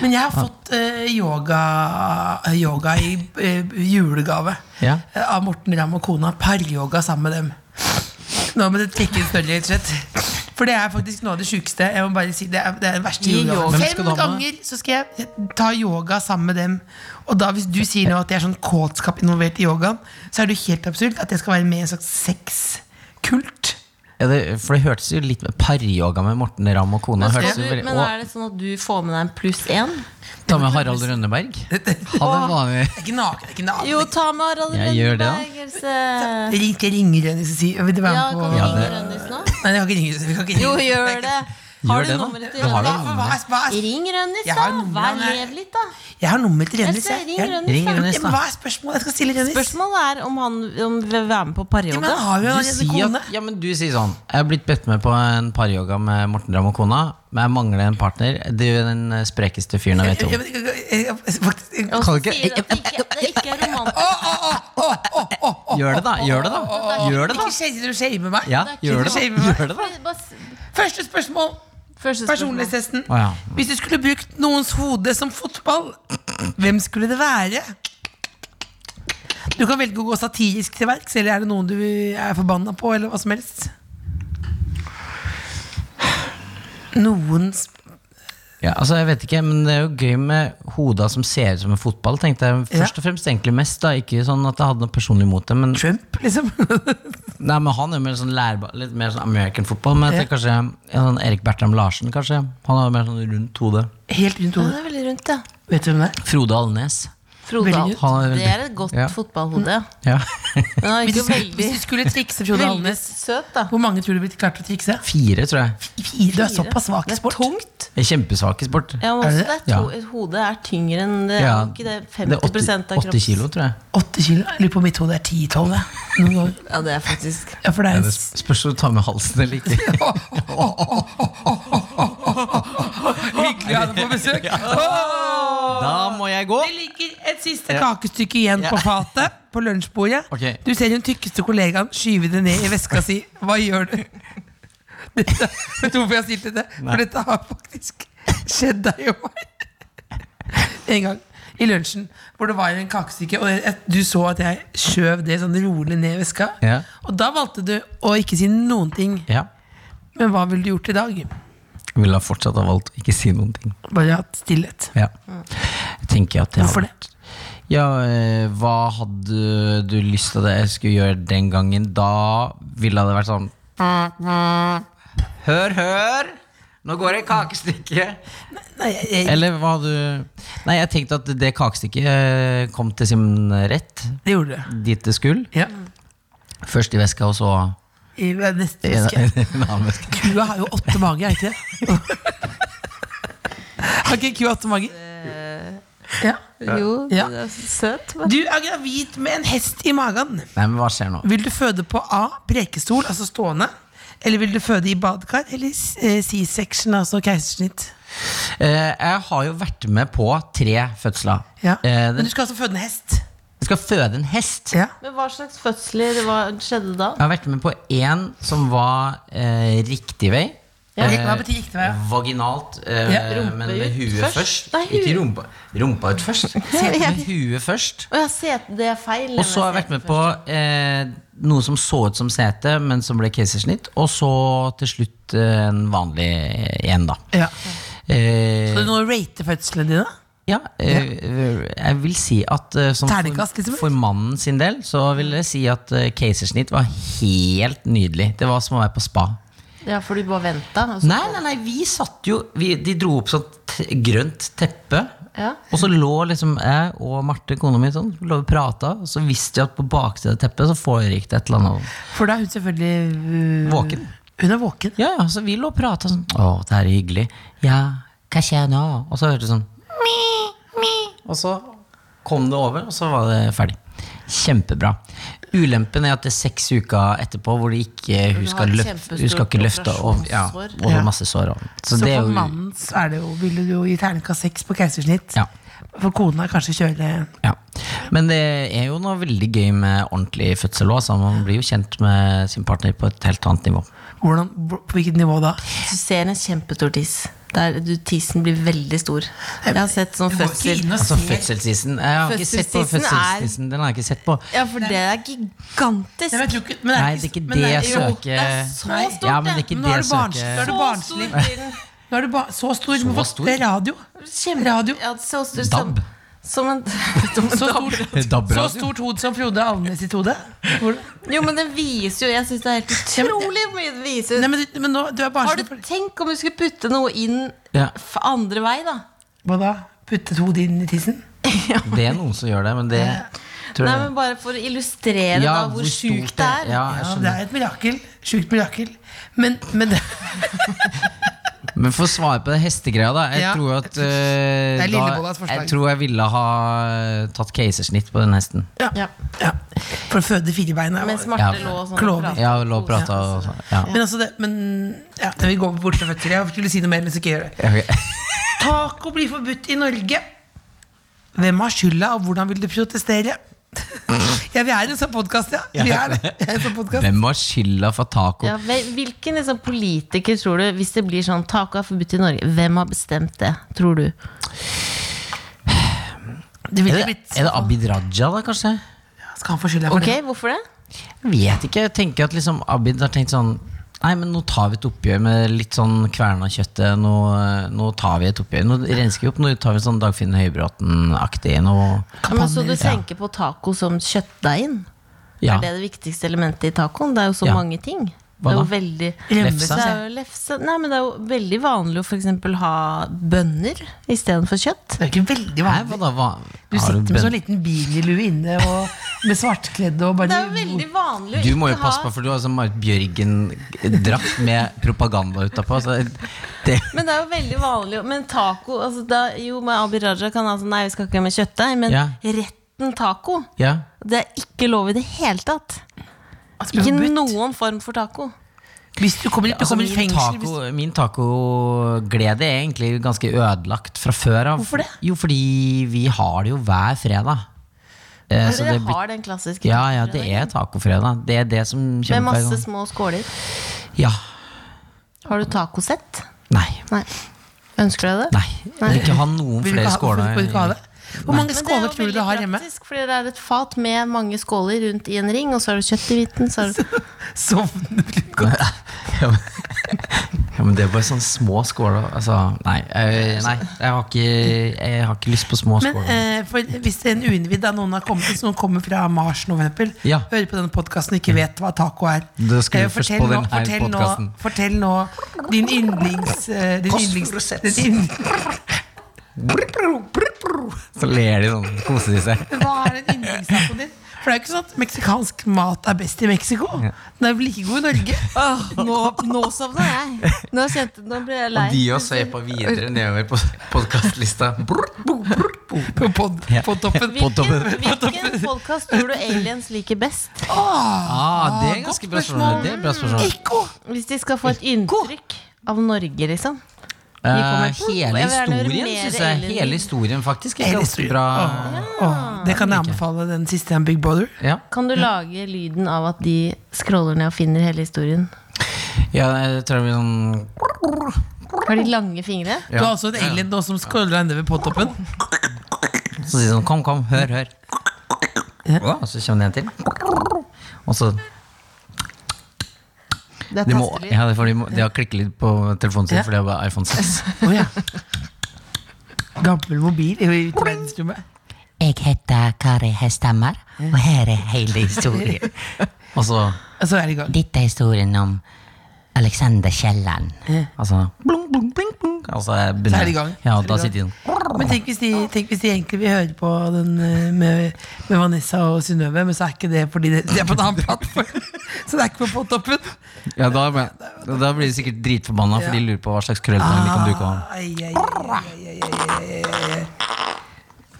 S4: Men jeg har fått eh, yoga, yoga i eh, julegave
S5: Ja.
S4: Eh, av Morten Ramm og kona. Paryoga sammen med dem. Nå må det trekke ut snørret, rett og slett. For det er faktisk noe av det sjukeste. Jeg må bare si, det er, det er den verste
S3: Gi yoga.
S4: julegaven.
S5: Hvem
S4: Fem
S5: skal du ha med?
S4: ganger så skal jeg ta yoga sammen med dem. Og da hvis du sier nå at jeg er sånn kåtskap involvert i yogaen, så er det jo helt absurd at jeg skal være med i en slags sexkult.
S5: ja, det, For det hørtes jo litt Paryoga med Morten Ramm og kona.
S3: Men,
S5: Hørtes
S3: skal
S5: jo
S3: du,
S5: veldig,
S3: men er det sånn at du får med deg en pluss én?
S5: og ta med Harald Rønneberg. Ha det vanlig.
S4: Det er ikke naken. Det er ikke naken.
S3: Jo, ta med Harald
S5: Jeg gjør det, da.
S3: Rønneberg. Else.
S4: Ring- Jeg ringer Rønnis og sier Vil du være
S3: Ja,
S4: med
S3: kan
S4: på
S3: du
S5: Ja,
S3: ringe
S5: det-
S3: Rønnis nå?
S4: Nei, vi kan ikke ringe. Vi kan ikke ringe.
S3: Jo, gjør det. Har du
S5: Gjør det, da.
S3: nummeret
S5: Du
S3: til
S5: har
S4: Hva,
S5: det
S3: Rønnis?
S4: hva,
S5: nummeret.
S4: hva, hva,
S3: Ring Rønnis,
S4: Jeg
S3: da.
S4: har nummeret,
S3: Vær
S4: men jeg-
S3: lev litt, da.
S4: Jeg har nummeret til Rønnis.
S3: Else,
S4: jeg.
S3: ring
S4: Jeg-
S3: Rønnis.
S5: Ring
S3: da.
S5: Rønnis,
S4: Ja, men
S5: da.
S4: Hva er spørsmålet? Jeg skal stille Rønnis.
S3: Spørsmålet er om han om vil være med på
S4: Ja, men han
S3: paryoga.
S4: har jo
S5: Du
S4: allerede
S5: sier,
S4: kone.
S5: at, ja, men du sier sånn Jeg har blitt bedt med på en paryoga med Morten Ramm og kona, men jeg mangler en partner. Du er den eh, sprekeste fyren jeg vet
S4: Ja,
S5: om.
S4: men- jeg- jeg- faktisk-
S3: Og
S5: Kan
S3: så
S5: du ikke-
S3: sier du at det ikke, det ikke er romantisk.
S5: Gjør det, da! Gjør det, da! Gjør det, da.
S4: Ikke shame- du shamer meg.
S5: Ja,
S4: Ikke
S5: gjør det, da.
S4: shame meg.
S5: Gjør det, da.
S3: Bare s-
S4: Første spørsmål.
S3: Første spørsmål.
S4: Personlighetstesten.
S5: Å, ja.
S4: Hvis du skulle brukt noens hode som fotball, hvem skulle det være? Du kan velge å gå satirisk til verks, eller er det noen du er forbanna på, eller hva som helst. Noen sp-
S5: Ja, altså jeg vet ikke, men Det er jo gøy med hoda som ser ut som en fotball. tenkte jeg Først og fremst egentlig mest da Ikke sånn at jeg hadde noe personlig mot det. Men,
S4: Trump, liksom.
S5: nei, men Han er jo mer sånn lærbar, litt mer sånn American football. Men jeg tenker kanskje ja, sånn Erik Bertram Larsen, kanskje. Han har jo mer sånn rundt hode.
S4: Helt rundt
S3: Ja,
S4: hodet.
S3: det er veldig rundt, ja.
S4: Vet du hvem det er?
S5: Frode Alnes.
S3: Frode
S4: Veldig Mm.
S3: Alt.
S5: Han er
S3: Det
S5: veldig-
S3: er et godt
S5: Ja.
S3: fotballhode.
S5: Ja.
S3: Men han er
S4: Hvis du
S3: ikke
S4: skulle,
S3: veldig,
S4: hvis du skulle trikse Frode
S3: veldig
S4: Alnes,
S3: søt, da.
S4: hvor mange tror du ville klart å trikse?
S5: Fire, tror jeg.
S4: Fire. Du er såpass svak i
S3: Det er
S4: sport.
S3: tungt.
S5: Jeg er Kjempesvak i sport.
S3: Ja, men også
S4: det?
S3: det er to,
S5: Ja.
S3: et hode er tyngre enn det, er
S5: Ja,
S3: jo ikke det
S5: det er
S3: 50
S5: åtte-
S3: av
S5: åtte
S3: kropps...
S5: kilo, tror jeg.
S4: Åtte kilo. Jeg lurer på om mitt hode er ti-tolv.
S3: Ja, det er faktisk
S4: Ja, for det er
S5: Det
S4: jo
S5: sp- spørs om du tar med halsen eller ikke.
S6: Hyggelig å ha deg på besøk.
S5: Da må jeg gå.
S4: Det ligger et siste kakestykke igjen på fatet på lunsjbordet.
S5: Ok.
S4: Du ser den tykkeste kollegaen skyve det ned i veska si. Hva gjør du? Dette, vet du hvorfor jeg har stilt dette? For dette har faktisk skjedd deg og meg. En gang i lunsjen hvor det var en kakestykke, og jeg, du så at jeg skjøv det sånn rolig ned i veska.
S5: Ja.
S4: Og da valgte du å ikke si noen ting.
S5: Ja.
S4: Men hva ville du gjort i dag?
S5: Ville ha fortsatt ha valgt å ikke si noen ting.
S4: Bare hatt stillhet.
S5: Ja. Jeg tenker at jeg har
S4: Hvorfor
S5: vært ja, eh, Hva hadde du lyst til at jeg skulle gjøre den gangen? Da ville det vært sånn Hør, hør! Nå går det kakestykke!
S4: Nei, jeg, jeg,
S5: Eller hva hadde du Nei, jeg tenkte at det kakestykket eh, kom til sin rett.
S4: det gjorde du.
S5: Dit det skulle.
S4: Ja.
S5: Først i veska, og så
S4: I neste
S5: i en
S4: veske.
S5: i en annen veske.
S4: Kua har jo åtte mager, er ikke det? Har ikke kua åtte mager? Ja.
S3: Jo,
S4: Ja.
S3: det er søt. men-
S4: Du er gravid med en hest i magen.
S5: Nei, men hva skjer nå?
S4: Vil du føde på A. Prekestol, altså stående? Eller vil du føde i badekar? Eller eh, C-section, altså keisersnitt?
S5: Eh, jeg har jo vært med på tre fødsler.
S4: Ja.
S5: Eh,
S4: Men du skal altså føde en hest?
S5: Jeg skal føde en hest.
S4: Ja.
S3: Men hva slags fødsler det var, skjedde da?
S5: Jeg har vært med på én som var eh, riktig vei.
S4: Ja. Hva betyr gikk det med?
S5: Vaginalt, eh,
S4: Ja, rumpe
S5: men med
S3: ut
S5: huet
S3: først.
S5: først.
S3: Nei,
S5: Ikke
S3: huet.
S5: rumpa, rumpa ut først. Sete med huet først.
S3: Å ja, sete, det er feil.
S5: Og så har jeg vært med på eh, noe som så ut som sete, men som ble keisersnitt. Og så til slutt eh, en vanlig en, da.
S4: Ja.
S5: Eh,
S4: Skal du nå rate fødslene dine?
S5: ja, eh, jeg vil si at eh, som
S4: Terningkast,
S5: for,
S4: liksom?
S5: for mannen sin del, så vil jeg si at eh, keisersnitt var helt nydelig. Det var som å være på spa.
S3: Ja, for du bare venta. og så-
S5: Nei, nei, nei, vi satt jo vi, De dro opp sånn t grønt teppe.
S3: Ja.
S5: Og så lå liksom jeg og Marte, kona mi, sånn, lå og prata. Og så visste vi at på baksiden av teppet så foregikk det et eller annet.
S4: For da er hun selvfølgelig øh,
S5: Våken.
S4: Hun er våken.
S5: Ja, ja, så vi lå og prata sånn. Å, det her er hyggelig. Ja, hva skjer nå? Og så hørte du sånn Og så kom det over, og så var det ferdig. Kjempebra. Ulempen er at det er seks uker etterpå hvor det ikke, hun,
S3: Du har
S5: skal
S3: et
S5: løfte, hun skal ikke
S3: kjempestort
S5: løfte over, ja,
S3: operasjonssår.
S5: over
S4: Ja.
S5: masse sår. og- Så,
S4: Så,
S5: det er
S4: for
S5: jo
S4: mannen så er det jo, ville du jo gi terningkast seks på keisersnitt.
S5: Ja.
S4: For kona kanskje kjøre
S5: Ja. Men det er jo noe veldig gøy med ordentlig fødsel òg. Man blir jo kjent med sin partner på et helt annet nivå.
S4: hvordan, På hvilket nivå da?
S3: Du ser en kjempestor tiss. Der du, tissen blir veldig stor. Jeg har sett sånn fødsel.
S5: Altså fødselsisen. Jeg har ikke sett på
S3: Fødselsisen er-
S5: fødselsisen. Den har jeg ikke sett på.
S3: Ja, for det er gigantisk.
S4: Nei, men jeg tror ikke, men
S5: Nei, det er ikke det jeg
S4: jo,
S5: søker.
S3: så stort,
S5: Ja, men det er
S3: det.
S5: ikke
S4: Nå
S5: det jeg
S4: er det
S5: søker.
S4: barnslig. er det barnslig.
S3: Så stor blir den.
S4: Nå er det ba så stor. Så
S5: var stor.
S4: Det er radio.
S3: Kjempe,
S4: Radio.
S3: Ja, så stor som,
S5: Dab.
S3: som en
S4: Så stort, så
S5: Dabbradio.
S4: stort hode som Frode Alnes sitt hode. Hvor-
S3: Jo, men den viser jo Jeg syns det er helt utrolig hvor mye den viser.
S4: Nei, men, du- men nå, du
S3: Har
S4: er barnslig.
S3: du
S4: for-
S3: Tenk om du skulle putte noe inn
S5: Ja.
S3: f- andre vei, da.
S4: Hva da? Puttet hodet inn i tissen?
S5: Det er noen som gjør det, men det tror
S3: Nei,
S5: jeg
S3: men Bare for å illustrere da, hvor
S5: stort
S3: sjukt det er.
S5: Ja, jeg
S4: Ja, det
S5: skjønner.
S4: er et mirakel. Sjukt mirakel. Men, men det
S5: Men for å svare på det hestegreia, da. Jeg
S4: Ja.
S5: tror at eh,
S4: Det er Lillebollas
S5: da,
S4: forslag.
S5: Jeg tror jeg ville ha tatt keisersnitt på den hesten.
S4: Ja.
S3: Ja.
S4: ja. For å føde firebeina.
S3: Mens
S4: Men,
S3: Marte
S5: Ja.
S3: lå og sånn.
S4: Klover.
S3: og pratet.
S5: Ja, lå og prata og sånn. Ja.
S4: altså det, men ja, når vi går bort fra fødsel Jeg skulle si noe mer, men så ikke gjør det.
S5: Ok.
S4: Taco blir forbudt i Norge. Hvem har skylda, og hvordan vil du protestere? Ja, vi er en sånn podkast, ja. Vi er det. Vi er en sånn podcast.
S5: Hvem har skylda for taco?
S3: Ja, hvem- hvilken liksom, politiker tror du, hvis det blir sånn taco er forbudt i Norge, hvem har bestemt det, tror du?
S4: Det sånn.
S5: Er
S4: ville
S5: det,
S4: blitt
S5: er det Abid Raja, da, kanskje?
S4: Skal han få skylda for
S3: Ok, Hvorfor det?
S5: Jeg vet ikke. Jeg tenker at liksom Abid har tenkt sånn Nei, men nå tar vi et oppgjør med litt sånn kverna kjøttet. Nå, nå tar vi et oppgjør. Nå rensker vi opp. Nå tar vi sånn Dagfinn Høybråten-aktig. Nå
S3: Ja, men så du
S4: Kampanjer, ja.
S3: tenker på taco som kjøttdeigen?
S5: Ja.
S3: Er det det viktigste elementet i tacoen? Det er jo så
S5: Ja.
S3: mange ting.
S5: Hva
S3: det er jo
S5: da?
S3: veldig
S4: det?
S3: Det
S5: Lefse.
S4: Lefse.
S3: er jo lefse Nei, men det er jo veldig vanlig å for eksempel ha bønner istedenfor kjøtt.
S4: Det er jo ikke veldig
S5: Hæ,
S4: vanlig.
S5: hva da? Hva?
S4: Du
S5: har
S4: sitter med
S5: bønn-
S4: sånn liten bililue inne og med svartkledd og bare
S3: Det er jo veldig vanlig å
S5: Du må jo
S3: ikke
S5: passe
S3: ha
S5: på, for du har sånn Marit Bjørgen-drakt med propaganda utapå. Så det,
S3: Men det er jo veldig vanlig å- Men taco altså da, Jo, med Abid Raja kan altså Nei, vi skal ikke ha med kjøttdeig, men
S5: Ja.
S3: retten taco
S5: ja.
S3: Det er ikke lov i det hele tatt.
S4: Altså,
S3: Ikke
S4: forbudt.
S3: noen form for taco.
S4: Hvis du kommer, i- du
S5: Altså,
S4: kommer i
S5: min
S4: fengsel hvis
S5: taco- min tacoglede er egentlig ganske ødelagt fra før av.
S3: Hvorfor det?
S5: Jo, fordi vi har det jo hver fredag. Eh, så
S3: Dere
S5: det blir-
S3: har den klassiske
S5: ja, ja, det er tacofredag. Det er det som
S3: med
S5: kommer
S3: masse
S5: hver gang.
S3: små skåler.
S5: Ja.
S3: Har du tacosett?
S5: Nei.
S3: Nei. Ønsker du deg det?
S5: Nei. Jeg vil ikke ha noen
S4: Vil du ikke
S5: flere
S4: ha- hvorfor vil du ikke ha
S5: skåler.
S4: det? Hvor mange
S3: Men det er
S4: skåler
S3: jo
S4: tror du du
S3: veldig
S4: har hjemme?
S3: praktisk, fordi det er et fat med mange skåler rundt i en ring, og så har du kjøtt i hvitten. Så har du...
S4: Sovner du litt godt?
S5: Ja, men- ja, men det er bare sånne små skåler. Altså, nei, eh, nei jeg, har ikke, jeg har ikke lyst på små
S4: Men
S5: skåler.
S4: eh, for hvis en uinnvidd av noen har kommet Hvis noen kommer fra Mars nå, for eksempel,
S5: Ja.
S4: hører på denne podkasten og ikke vet hva taco er
S5: Da skal vi
S4: eh,
S5: først
S4: fortell
S5: på den
S4: nå-
S5: her
S4: fortell nå-
S5: podcasten.
S4: Fortell nå din yndlings... eh, din yndlings din yndlings
S5: Så ler de sånn, koser de seg.
S4: hva er den yndlingstacoen din? For det er jo ikke sånn at meksikansk mat er best i Mexico. Den er jo like god i Norge.
S5: Ah,
S3: nå, nå sovna jeg. Nå, kjente, nå ble jeg lei.
S5: Og de òg sveipa videre nedover på podkastlista.
S4: På, pod, på toppen.
S3: Hvilken, hvilken podkast tror du aliens liker best?
S5: Ah, det er ganske bra spørsmål. Det er et bra spørsmål.
S4: Ekko!
S3: Hvis de skal få et inntrykk av Norge, liksom.
S5: Eh,
S3: Jeg vil
S5: hele
S3: gjerne høre
S5: historien,
S3: mer
S5: syns jeg.
S3: Ellen.
S5: Hele historien, faktisk. Er
S4: Hele
S5: ganske
S4: historien.
S5: bra.
S4: Ah. Åh, det kan jeg anbefale den siste en Big Brother.
S5: Ja.
S3: Kan du lage lyden av at de scroller ned og finner hele historien?
S5: ja, jeg tror det blir sånn
S3: Har de lange fingre?
S4: Du har altså en alien nå som skåler deg nedover på toppen.
S5: Så sier de sånn, kom, kom, hør, hør. Å, Og så kommer det en til. Og så
S3: Det er
S5: de, må,
S3: tastelyd.
S5: ja, det er fordi de, må, de har klikkelyd på telefonen sin,
S4: Ja.
S5: for det er bare iPhone 6.
S4: Oh, ja. Gammel mobil i i verdensrommet.
S5: Jeg heter Kari Hestemmer, og her er hele historien. og så
S4: Og så er det i gang.
S5: Dette er historien om Alexander Kielland.
S4: Eh.
S5: Altså blung, blung, bling, blung. Altså, jeg begynner-
S4: Så er det i gang.
S5: Ja,
S4: Så er
S5: og
S4: det
S5: da
S4: i gang.
S5: sitter de sånn
S4: Men tenk hvis, de, tenk hvis de egentlig vil høre på den eh, med, med Vanessa og Synnøve, men så er ikke det fordi det, det er på en annen plattform. Så det er ikke på podtoppen.
S5: ja, da, men- da blir de sikkert dritforbanna, for de lurer på hva slags krølltegn de kan bruke. om.
S4: Ai, ai, ai, ai, ai, ai, ai, ai, ai.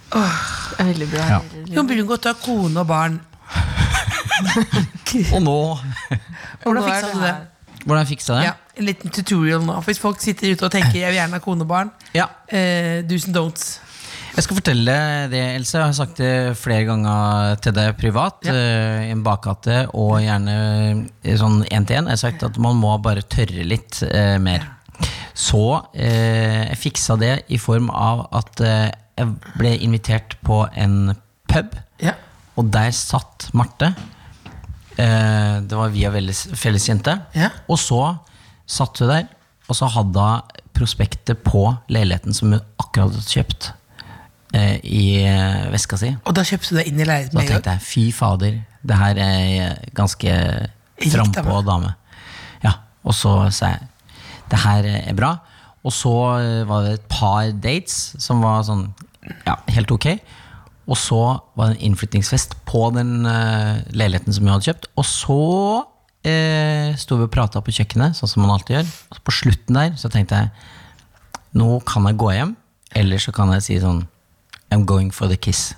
S3: Det er Veldig bra.
S5: Ja.
S4: Jon Brungot, du har kone og barn.
S5: Og nå
S4: Hvordan
S3: nå er
S4: fiksa
S3: det
S4: du det?
S3: her.
S5: Hvordan fiksa jeg
S4: Ja,
S5: det?
S4: en liten tutorial nå. Hvis folk sitter ute og tenker 'jeg vil gjerne ha kone og barn',
S5: Ja.
S4: eh, do's and don'ts.
S5: Jeg skal fortelle det, Else. Jeg har sagt det flere ganger til deg privat. eh, I en bakgate og gjerne eh, sånn én til én. Jeg har sagt at man må bare tørre litt eh, mer. Så eh, jeg fiksa det i form av at eh, jeg ble invitert på en pub,
S4: Ja.
S5: og der satt Marte. Eh, det var via felles, fellesjente.
S4: Ja.
S5: Og så satt hun der, og så hadde hun prospektet på leiligheten som hun akkurat hadde kjøpt, eh, i eh, veska si.
S4: Og da kjøpte du deg inn i leiligheten
S5: Da
S4: med en gang?
S5: tenkte jeg fy fader, det her er ganske frampå
S4: dame.
S5: dame. Ja, og så sa jeg det her eh, er bra. Og så eh, var det et par dates som var sånn ja, helt ok. Og så var det en innflyttingsfest på den eh, leiligheten som jeg hadde kjøpt. Og så eh, sto vi og prata på kjøkkenet, sånn som man alltid gjør. Og så på slutten der så tenkte jeg nå kan jeg gå hjem, eller så kan jeg si sånn I'm going for the kiss.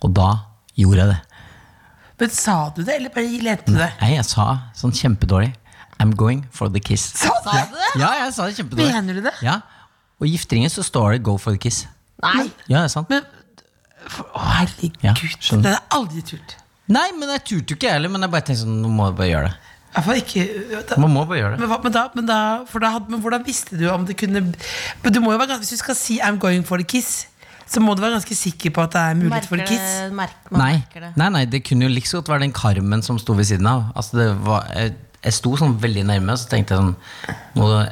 S5: Og da gjorde jeg det.
S4: Men sa du det, eller bare lette du det?
S5: Nei, jeg sa sånn kjempedårlig I'm going for the kiss. Sa du det? Ja, jeg sa det kjempedårlig.
S4: Mener du det?
S5: Ja. Og i gifteringen så står det 'go for the kiss'.
S3: Nei,
S5: Ja, det er sant.
S4: Å, herregud,
S5: Ja,
S4: det
S5: skjønner.
S4: hadde jeg aldri turt.
S5: Nei, men jeg turte jo ikke jeg heller, men jeg bare tenkte sånn, nå må jeg bare gjøre det.
S4: I hvert fall ikke øh, da,
S5: Man må bare gjøre det.
S4: men, hva- men, da, men, da, for da hadde, men hvordan visste du om det kunne men du må jo være, ganske- Hvis du skal si 'I'm going for the kiss', så må du være ganske sikker på at det er mulighet for
S3: merker
S4: et kiss.
S3: det, merker, man
S5: Nei,
S3: merker det.
S5: nei, nei, det kunne jo like så godt være den karmen som sto ved siden av. Altså, det var, jeg, jeg sto sånn veldig nærme, og så tenkte jeg sånn, nå,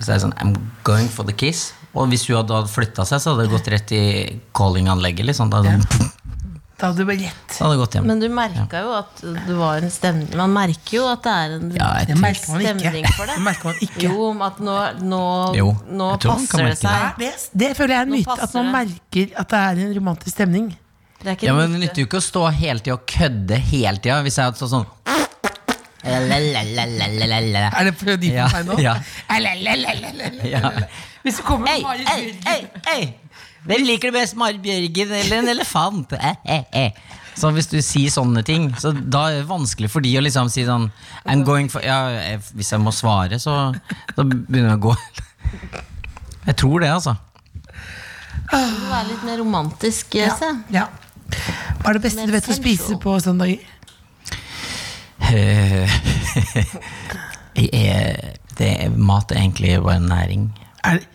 S5: så er jeg sånn I'm going for the kiss. Og hvis hun hadde flytta seg, så hadde det gått rett i callinganlegget. Liksom. Da hadde hun-
S4: Da hadde du bare gjett.
S5: da hadde det gått hjem.
S3: Men du merka jo at det var en stemning Man merker jo at det er en
S5: Ja, jeg
S4: Det
S5: tror-
S4: merker man ikke.
S3: stemning for det.
S4: Det merker man ikke.
S3: Jo, om at nå, nå,
S5: Jo,
S3: nå
S5: jeg tror man kan
S3: passer det
S5: merke
S3: seg.
S4: Er Det, det føler jeg er en
S3: Nå
S4: myte.
S3: passer
S4: At man merker at det er en romantisk stemning.
S3: Det er ikke
S5: ja, men
S3: en
S5: det
S3: myte.
S5: nytter jo ikke å stå hele tida og kødde hele tida. Hvis jeg hadde stått sånn
S4: Er det prøvd
S5: Ja,
S4: på meg nå?
S5: ja.
S4: Elelelelelele.
S5: ja.
S4: Hvis du kommer
S5: Ei,
S4: med Marit
S5: ei,
S4: Bjørgen
S5: ei, ei. Hvem liker du best, Marit Bjørgen eller en elefant? Eh, eh, eh. Så hvis du sier sånne ting, så da er det vanskelig for de å liksom si sånn I'm going for ja, eh, Hvis jeg må svare, så da begynner jeg å gå. Jeg tror det, altså.
S3: Du må være litt mer romantisk. Se.
S4: Ja. Hva er det beste
S3: Mer
S4: du vet å spise
S3: sensual.
S4: på søndager?
S5: Eh, jeg er- det er, mat er egentlig bare næring.
S4: Er det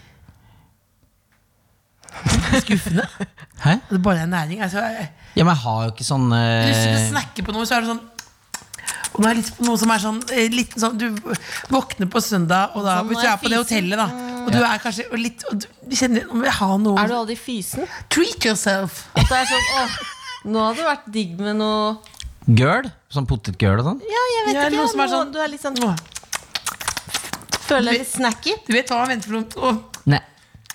S4: Skuffende. Altså,
S5: Hæ?
S4: Det bare er næring. Altså, jeg-
S5: Ja, men jeg har jo ikke sånn eh,
S4: Hvis du snakker på noe, så er det sånn og nå er jeg litt på noe som er sånn, eh, litt sånn Du våkner på søndag, og da,
S3: Sånn,
S4: hvis
S3: nå
S4: du
S3: er
S4: er på det
S3: jeg fysen.
S4: hotellet, da og du er kanskje og litt og du kjenner, Nå må jeg ha
S3: Er du
S4: noe
S3: aldri fysen?
S4: Treat yourself!
S3: At det er sånn åh, nå hadde det vært digg med noe
S5: Gøl? Sånn potetgøl og sånn?
S3: Ja, jeg vet
S4: Ja,
S3: ikke.
S4: noe som er
S3: noe-
S4: sånn-
S3: Du er litt sånn,
S4: Åh,
S3: føler deg litt snacky.
S4: Du vet hva man venter for noe Åh,
S5: Nei.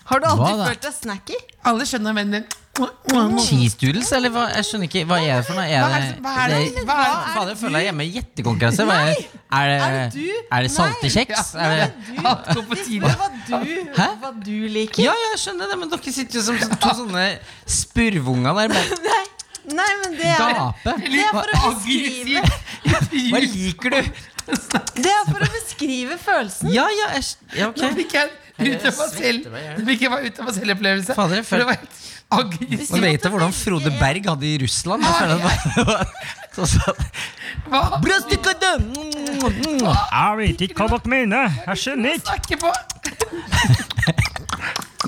S3: Har du
S5: Hva
S3: alltid
S5: da?
S3: følt deg snacky?
S4: Alle skjønner vennen din. Åh,
S5: Cheese doodles, eller hva? Jeg skjønner ikke. Hva er det for noe? Er
S4: Hva er
S5: det,
S4: det- hva er det- hva er det-
S5: Fader, jeg føler jeg er hjemme i gjettekonkurranse. Hva er, er,
S3: Er det
S5: det,
S3: du?
S5: er det salte kjeks? Er det,
S4: alt går på tide.
S3: Hva du,
S5: Hæ?
S3: hva du liker?
S5: ja, jeg skjønner det, men dere sitter jo som to sånne spurvunger der. Bare,
S3: Nei, nei, men det er
S5: Gape.
S3: Det er for å beskrive,
S5: hva liker du?
S3: det er for å beskrive følelsen.
S5: Ja, ja, jeg, skj- ja
S4: Nå
S5: ok.
S4: fikk jeg
S6: Ute på selv,
S5: svetter meg, jeg.
S6: det fikk jeg være ute på selvopplevelse.
S5: Fader, jeg
S6: For det
S5: følte-
S6: var helt aggressivt.
S5: Man vet jo hvordan Frode Berg hadde i Russland. Jeg føler at det var- Så sa han,
S6: Hva
S5: «Brødstykkene!»
S8: Jeg vet ikke hva dere mener. Jeg skjønner ikke.
S6: snakker på?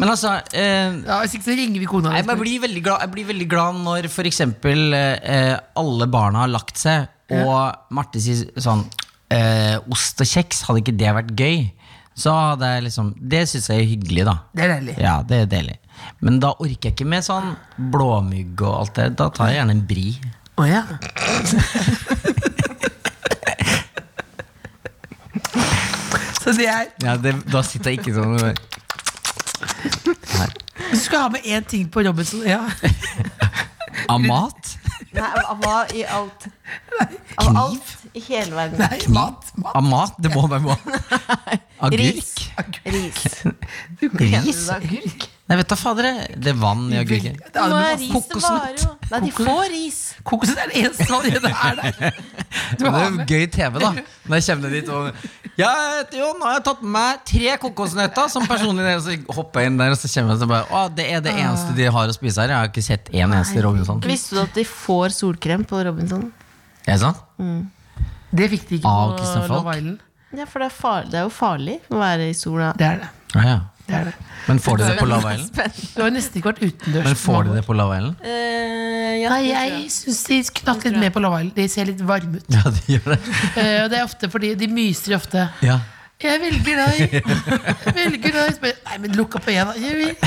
S5: Men altså eh,
S6: Ja, Hvis ikke så ringer vi kona.
S5: Nei, men jeg,
S6: hans.
S5: blir veldig glad, jeg blir veldig glad når for eksempel eh, alle barna har lagt seg, og Marte sier sånn eh, Ost og kjeks, hadde ikke det vært gøy? Så hadde jeg liksom Det syns jeg er hyggelig, da.
S6: Det er deilig.
S5: Ja, det er deilig. Men da orker jeg ikke med sånn blåmygg og alt det. Da tar jeg gjerne en bri.
S4: Å ja. Så det er
S5: Ja, det, da sitter jeg ikke sånn Nei,
S4: Du skal ha med én ting på Robinson. Ja.
S5: Av mat?
S3: Nei, av- av hva i alt? Av
S5: Kniv?
S3: alt i hele verden.
S6: Nei, mat, mat.
S5: Av mat? Det må være mat.
S3: Ris.
S5: Agurk?
S3: Ris.
S5: Ris?
S3: Agurk?
S5: Nei, vet du fader. Det er vann i agurken.
S6: Det er det
S3: Nå er
S6: med
S3: riset varer jo. Nei, de får ris.
S6: Kokosnøtt er det eneste som allerede er der. Du
S5: Men det
S6: har
S5: er jo
S6: med.
S5: gøy TV, da. Når jeg kommer dit og Jeg heter Jon, og jeg har tatt med meg tre kokosnøtter som personlig del. Så hopper jeg inn der, og så kommer jeg og bare Å, det er det eneste de har å spise her. Jeg har ikke sett én eneste Robinson.
S3: Visste du at de får solkrem på Robinson?
S5: Er det sant?
S6: Det fikk de ikke
S5: Av
S6: på
S5: Christian Falk.
S6: Love Island.
S3: Ja, for det er, far, det er jo farlig å være i sola.
S6: Det er det.
S5: Ah, Ja, ja.
S6: Det, er det.
S5: Men får de det på Love Island?
S6: det har nesten ikke vært utendørs.
S5: Men får de det på Love Island?
S3: Eh, ja,
S6: Nei,
S3: det tror
S6: jeg syns de knakk litt med på Love Island. De ser litt varme ut.
S5: Ja, de gjør det.
S6: Eh, Og det er ofte fordi de myser ofte.
S5: Ja.
S6: Jeg velger deg. Jeg velger deg. Så bare, Nei, men lukk opp øynene. Jeg vil-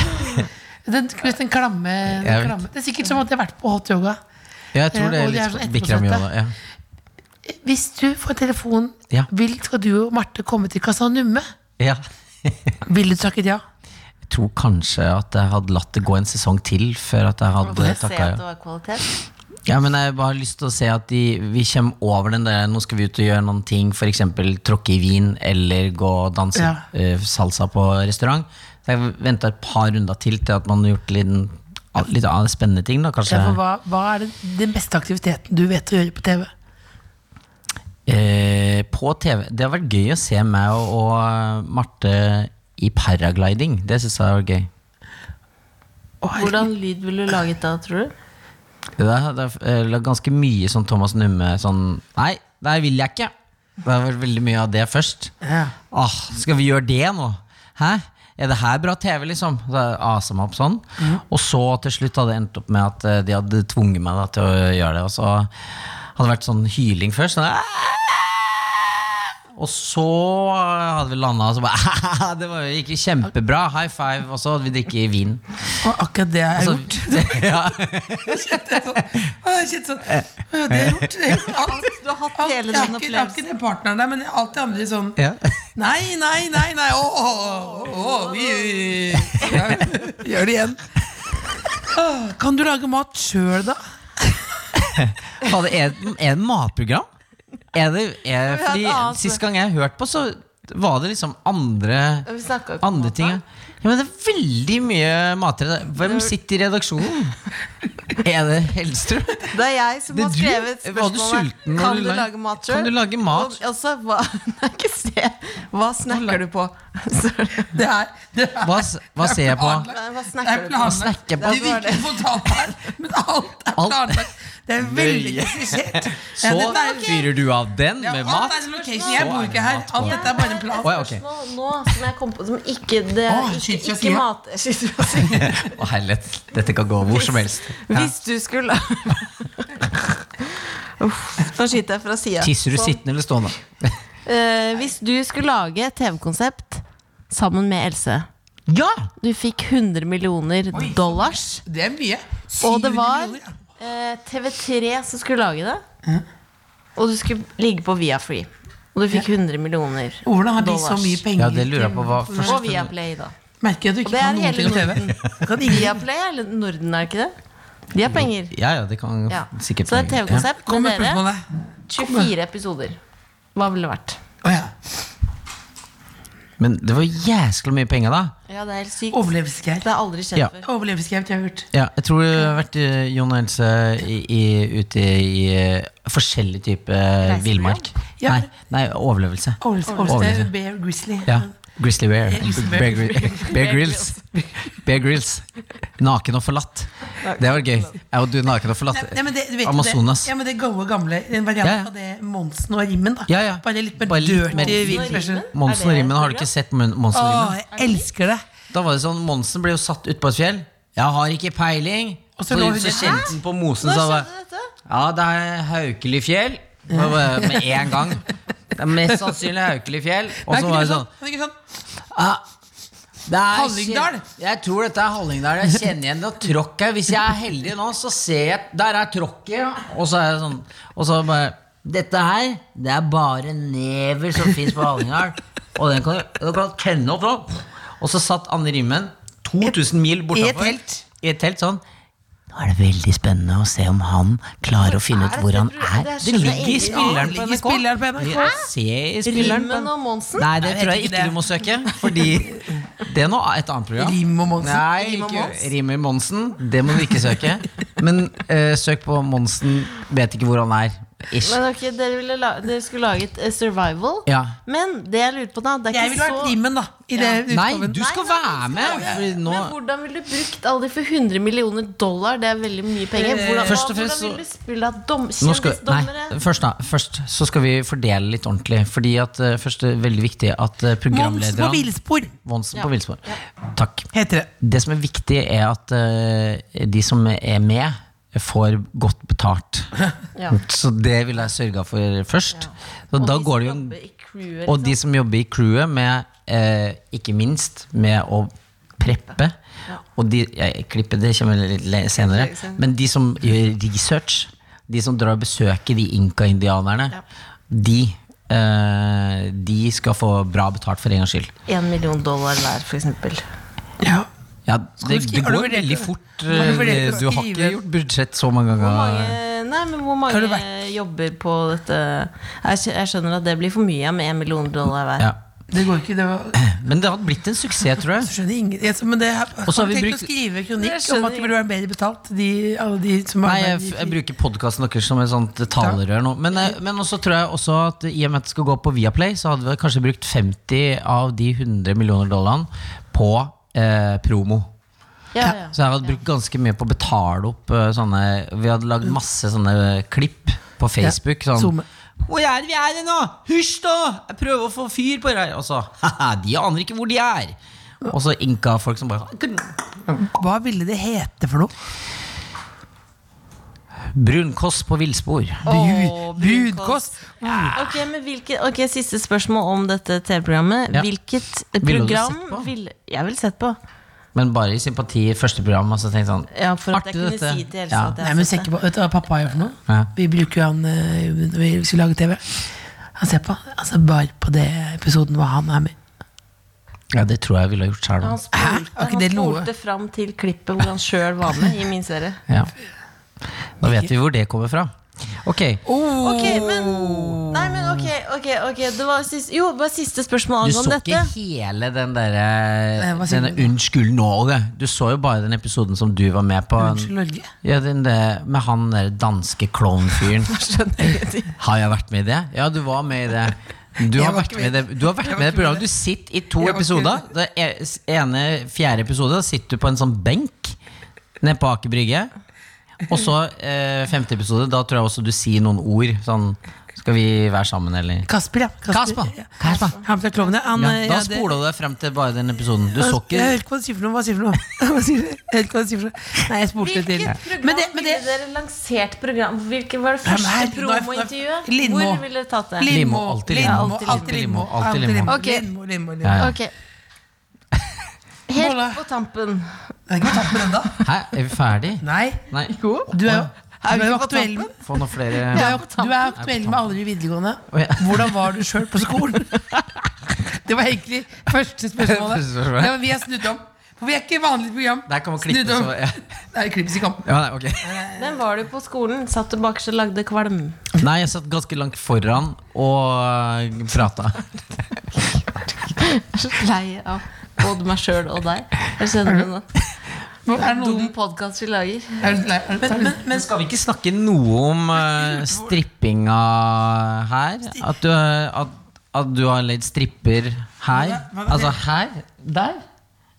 S6: Den, du vet, den klamme,
S5: Jeg
S6: den
S5: vet.
S6: klamme. Det er sikkert som at jeg har vært på hot yoga.
S5: Ja, jeg tror
S6: Ja,
S5: det er
S6: og de er sånn
S5: litt
S6: 1%,
S5: Bikram Yoda. Ja.
S6: Hvis du får telefon,
S5: Ja.
S6: vil, skal du og Marte komme til Casanumme?
S5: ja.
S6: Ville du takket ja?
S5: Jeg tror kanskje at jeg hadde latt det gå en sesong til før at jeg
S3: Får
S5: hadde
S3: jeg se
S5: takka
S3: at
S5: ja.
S3: det var kvalitet?
S5: Ja, men jeg bare har lyst til å se at de, vi kommer over den der Nå skal vi ut og gjøre noen ting, f.eks. tråkke i vin eller gå og danse
S6: Ja.
S5: eh, salsa på restaurant. Så jeg venta et par runder til til at man har gjort litt, litt av spennende ting. da, kanskje.
S6: Ja, for hva, hva er den, den beste aktiviteten du vet å gjøre på TV?
S5: Eh, på TV. Det har vært gøy å se meg og, og Marte i paragliding. Det syns jeg var gøy.
S3: Hvordan lyd ville du laget da, tror du?
S5: Det er, det er eh, det er ganske mye sånn Thomas Numme sånn Nei, det vil jeg ikke. Det har vært veldig mye av det først. Ah, skal vi gjøre det nå? Hæ? Er det her bra TV, liksom? Så jeg asa meg opp sånn. Og så til slutt hadde det endt opp med at eh, de hadde tvunget meg da, til å gjøre det. Og så hadde det vært sånn hyling først. Sånn, og så hadde vi landa, og så bare Det var, gikk jo kjempebra. High five. Og så hadde vi drikket vin.
S4: Og akkurat det er
S5: Så,
S4: gjort.
S5: Altså, ja.
S4: Å, jeg kjente sånn, å, det er gjort. Det er gjort. Alt,
S3: Du har hatt
S4: alt,
S3: hele den
S4: jeg har ikke- Jeg har ikke
S3: opplevelsen.
S4: den partneren der, men alt det andre sånn
S5: ja.
S4: Nei, nei, nei, nei. Å, å, å, å, vi, ja, gjør det igjen. Å, Kan du lage mat sjøl, da?
S5: Fader, er, det- er det matprogram? Er det, er,
S3: har
S5: fordi
S3: et annet-
S5: Sist gang jeg hørte på, så var det liksom andre
S3: Vi snakket ikke om
S5: Andre
S3: mat,
S5: ting.
S3: da.
S5: Ja, men det er veldig mye matrett. Hvem sitter i redaksjonen? Er det Helstrøm?
S3: Det er jeg som
S5: Det er
S3: har
S5: du.
S3: skrevet
S5: Var du
S3: spørsmålet.
S5: sulten når
S3: Kan
S5: du
S3: du
S5: lag-
S3: lage mat sjøl?
S5: Kan du lage mat?
S3: Og, altså, hva, nei, ikke se. Hva snakker du på? Sorry.
S4: Det er, det er,
S5: Hva, s- hva ser jeg på?
S3: Nei, Hva
S4: det er
S3: snakker du på?
S4: planlagt.
S5: snakker jeg
S4: Det
S5: på?
S4: er virkelig spontant her, men alt er
S5: Alt.
S4: planlagt. Det er veldig
S5: Nøye.
S4: komplisert. Ja,
S5: Så
S4: dette er-
S5: fyrer du av den
S4: Ja,
S5: med
S4: alt
S5: mat?
S4: er location. Jeg
S5: Så
S4: bor
S5: er det
S4: ikke her.
S5: mat på.
S4: Alt dette er bare en plan.
S5: Å, ja, ok.
S3: Nå, nå som jeg kom på som ikke det,
S4: Å,
S3: ikke,
S4: skyter fra
S3: ikke
S4: siden.
S3: mat skyter fra siden.
S5: Å, herlighet. Dette kan gå hvor som helst. Ja.
S3: Hvis du skulle Uff, Nå skyter jeg fra sida.
S5: Tisser
S4: Sånn.
S5: du sittende eller stående?
S3: Eh, hvis du skulle lage et TV-konsept sammen med Else
S5: Ja!
S3: Du fikk 100 millioner dollars,
S4: Det er mye.
S3: og det
S4: 700
S3: var
S4: millioner, ja.
S3: eh, TV3 som skulle lage det. Og du skulle ligge på Viafree. Og du fikk 100 millioner
S4: Hvordan har de så
S3: dollars.
S4: mye penger?
S5: Ja, det lurer jeg på. Hva
S4: til-
S5: først
S3: Og Viaplay, da.
S4: Merker at du
S3: Og
S4: ikke
S3: det er
S4: kan noen ting
S3: hele
S4: om TV.
S3: Norden.
S4: Kan ingen
S3: Viaplay er hele Norden, er det ikke det? De har penger.
S5: Ja, ja, det kan
S3: Ja. Så
S5: sikkert
S3: det er et TV-konsept
S4: Kom med
S3: med dere.
S4: spørsmålet.
S3: 24 episoder. Hva ville det vært?
S4: Å ja.
S5: Ja. Men det var jæskla mye penger, da.
S3: Ja, det er helt sykt.
S4: Overlevelsesgreier.
S3: Det har aldri skjedd
S5: Ja.
S3: før.
S4: Overlevelsesgreier jeg har hørt.
S5: Ja, jeg tror det har vært eh, Jon og Else i, i, ute i eh, forskjellig type villmark.
S4: Ja.
S5: Nei, nei, overlevelse.
S4: Overlevelse, overlevelse. Bear Grizzly.
S5: Ja. Grizzly Bear. Bear, Gri- Bear Grills. Bear Grills. Naken og forlatt. Det var gøy. Jeg og du naken og forlatt.
S4: Nei, men det, du vet jo
S5: Amazonas.
S4: Det, ja, men det gode, gamle En variant
S5: Ja, ja.
S4: av det Monsen og Rimmen. da
S5: Ja, ja.
S4: Bare litt mer
S5: Bare litt mer-
S4: dirty villsperson.
S5: Monsen og Rimmen, har du ikke sett Mon- Monsen og
S4: Å,
S5: Rimmen?
S4: jeg elsker det!
S5: Da var det sånn, Monsen ble jo satt ut på et fjell. Jeg har ikke peiling.
S4: Og
S5: Og
S4: så
S5: så,
S4: lå hun
S5: så
S4: der,
S5: kjente han på mosen og sa Ja, det er Haukelifjell. Og bare Med en gang. Det er mest sannsynlig Haukelifjell. Og
S4: Det
S5: så
S4: er
S5: var
S4: ikke
S5: det sånn
S4: sånn, det er ikke sånn.
S5: det er
S4: Hallingdal?
S5: kjen- Jeg tror dette er Hallingdal. Jeg kjenner igjen det og tråkk her. Hvis jeg er heldig nå, så ser jeg Der er tråkket, ja. Og så er jeg sånn Og så bare Dette her, det er bare never som fins på Hallingdal. Og den kan du den kan du tenne opp nå. Og så satt Anne Rimmen 2000 mil
S4: I et
S5: bortafor.
S4: telt.
S5: I et telt sånn. Nå er det veldig spennende å se om han klarer å finne ut hvor han er. Det ligger i spilleren på
S4: Ligger spilleren på NRK?
S5: Se i spilleren på
S3: Rimmen og Monsen?
S5: Nei, det
S4: Nei,
S5: tror jeg
S4: jeg vet ikke
S5: ikke
S4: det.
S5: du må søke. Fordi det er nå et annet program.
S4: Rim og Monsen.
S5: Nei,
S4: Rim og
S5: ikke
S4: Mons.
S5: Rim og Monsen. Det må du ikke søke. Men eh, søk på Monsen. Vet ikke hvor han er. Ish.
S3: Men ok, dere, ville la dere skulle lage et eh, survival.
S5: Ja.
S3: Men det jeg lurer på da det er ikke
S4: Jeg ville vært
S3: så...
S4: Rimmen, da. I det
S5: Nei,
S4: utgaven.
S5: du skal være med! Fordi nå
S3: Men hvordan ville du brukt alle de for 100 millioner dollar? Det er veldig mye penger. Hvordan,
S5: Først og fremst så-
S3: hvordan ville du spille av dom,
S5: nå skal,
S3: kjendisdommere?
S5: nei, først, da, først så skal vi fordele litt ordentlig. Fordi at eh, først er det veldig viktig at eh,
S4: Monsen på
S5: programlederne
S4: villspor
S5: Monsen på villspor. Takk.
S4: heter det.
S5: Det som er viktig, er at eh, de som er med, får godt betalt.
S3: Ja.
S5: Så det vil jeg sørge for først. Så da går det jo
S3: Jobbe i crewet, liksom.
S5: Og de som jobber i crewet, med, eh, ikke minst med å preppe. Og de, jeg klipper det kommer litt le- senere. Men de som gjør research, de som drar og besøker de inka-indianerne, de, eh, de skal få bra betalt for en gangs skyld.
S3: En million dollar hver, for eksempel.
S4: Ja.
S5: Ja,
S4: du
S5: det,
S4: skri-
S5: det
S4: har du
S5: går
S4: vurdert
S5: veldig
S4: det?
S5: fort. eh,
S4: Har du vurdert å
S5: Du har
S4: skrive-
S5: ikke gjort budsjett så mange
S3: Hvor
S5: ganger.
S3: mange, nei, men hvor mange
S4: du
S3: jobber på dette jeg, skj- jeg skjønner at det blir for mye med en million dollar hver.
S5: Ja.
S4: Det går ikke, det var
S5: Men det hadde blitt en suksess, tror jeg.
S4: Skjønner ingen jeg, Men det er,
S5: Og så har
S4: har
S5: vi
S4: tenkt
S5: brukt-
S4: å skrive kronikk
S3: Jeg
S4: om at de burde være bedre betalt, de, alle de som
S5: Nei, jeg,
S4: arbeider i-
S5: jeg bruker podkasten deres som et sånt talerør nå. Men, eh, men også tror jeg også at i og med at det skal gå på Viaplay, så hadde vi kanskje brukt 50 av de 100 millioner dollarene på eh, promo.
S3: Ja, ja.
S5: Så jeg hadde brukt ganske mye på å betale opp eh, sånne Vi hadde lagd masse sånne eh, klipp på Facebook. Sånn
S4: Zoome.
S5: hvor er det vi er nå? Hysj, da! Jeg prøver å få fyr på det her. Og så Haha, de aner ikke hvor de er. Og så inka-folk som bare
S4: Hva ville det hete for noe?
S5: Brunkoss på villspor.
S3: Åh,
S4: Bud- Budkås?
S3: Ah. Ok, men hvilket, ok, Siste spørsmål om dette TV-programmet.
S5: Ja.
S3: Hvilket
S5: Ville du
S3: program
S5: sett på?
S3: ville Jeg ville sett på.
S5: Men bare i sympati i første program. Og så tenkte jeg sånn
S3: Ja, for at jeg
S5: Artig,
S3: kunne
S5: dette.
S3: si til Else
S5: Ja.
S3: at jeg
S4: Nei,
S3: har
S4: men
S3: sett
S4: se ikke på Vet du hva pappa gjør for noe?
S5: Ja.
S4: Vi bruker jo han eh, når vi skal lage TV. Han ser på altså bare på det episoden hvor han er med.
S5: Ja, det tror jeg ville ha gjort
S3: Han
S5: sjøl.
S3: spolte,
S4: Var ikke
S3: han
S4: det noe?
S3: spolte fram til klippet hvor han sjøl var med i min serie.
S5: Ja. Da vet vi hvor det kommer fra. Ok, Oh.
S3: Ok, men Nei, men ok, ok, ok det var siste, Jo, bare siste spørsmål
S5: Du så
S3: angående
S5: ikke
S3: dette.
S5: hele den
S4: Eh,
S5: derre
S4: hva sier
S5: Denne
S4: du?
S5: Unnskyld Norge. Du så jo bare den episoden som du var med på.
S4: Unnskyld Norge.
S5: Ja, den der, med han der danske klovnfyren. Har jeg vært med i det? Ja, du var med i det. Du har
S4: var
S5: vært
S4: ikke
S5: med i det, du har vært med i det programmet. Du sitter i to
S4: Jeg var ikke
S5: episoder. Det e- ene fjerde episode da sitter du på en sånn benk nede på Aker Brygge. Og så eh, femte episode, da tror jeg også du sier noen ord. Sånn Skal vi være sammen, eller?
S4: Kasper, ja.
S5: Kasper!
S4: ja.
S5: Kasper.
S4: Han fra Klovnene. Han,
S5: Ja,
S4: eh,
S5: da
S4: ja, det-
S5: spola du deg frem til bare den episoden. Du så
S4: Jeg
S5: ikke
S4: hører ikke hva du sier for noe. Hva sier du for noe? Hva sier du? Jeg hører ikke hva du sier for noe. Nei, jeg spurte til.
S3: Hvilket program
S4: Men det, men det
S3: ville dere lansert program? Hvilket var det
S4: Ja, men
S3: første
S4: her- nå er-
S3: promointervjuet?
S4: Lindmo.
S3: Hvor ville dere tatt det?
S5: Limo, alltid
S4: Limo,
S5: limo,
S4: alltid limo,
S5: alltid
S4: alltid limo.
S5: limo.
S3: Ok.
S4: Limo, limo, limo.
S5: Ja, ja.
S3: Ok Helt
S4: Bolle.
S3: på tampen.
S4: Det er ikke tatt med den da.
S5: Hæ, er vi ferdig?
S4: Nei.
S5: Nei.
S4: Du
S3: Er vi
S4: er jo, du er jo
S3: ikke på
S4: aktuell,
S3: toppen?
S5: Få noen flere
S4: du er jo, du er aktuell med alle de videregående.
S5: Å, ja.
S4: Hvordan var du sjøl på skolen? Det var egentlig første spørsmålet.
S5: Første spørsmålet.
S4: Ja, men vi har snudd om. For vi er ikke vanlig program.
S5: Der kan man klippe,
S4: Snudd om.
S5: så ja.
S4: Nei, klippes ikke om.
S5: ja, nei, ok
S3: Den var du på skolen. Satt du bakerst og lagde kvalm.
S5: Nei, jeg satt ganske langt foran og eh, prata.
S3: Jeg er så lei av både meg sjøl og deg. Jeg skjønner det nå.
S4: Men Er det noe
S3: Dum podkast vi lager.
S4: er det, nei, er det, men,
S5: Men skal vi ikke snakke noe om eh, strippinga her? At, du, at, at du har leid stripper her? Altså her? Der?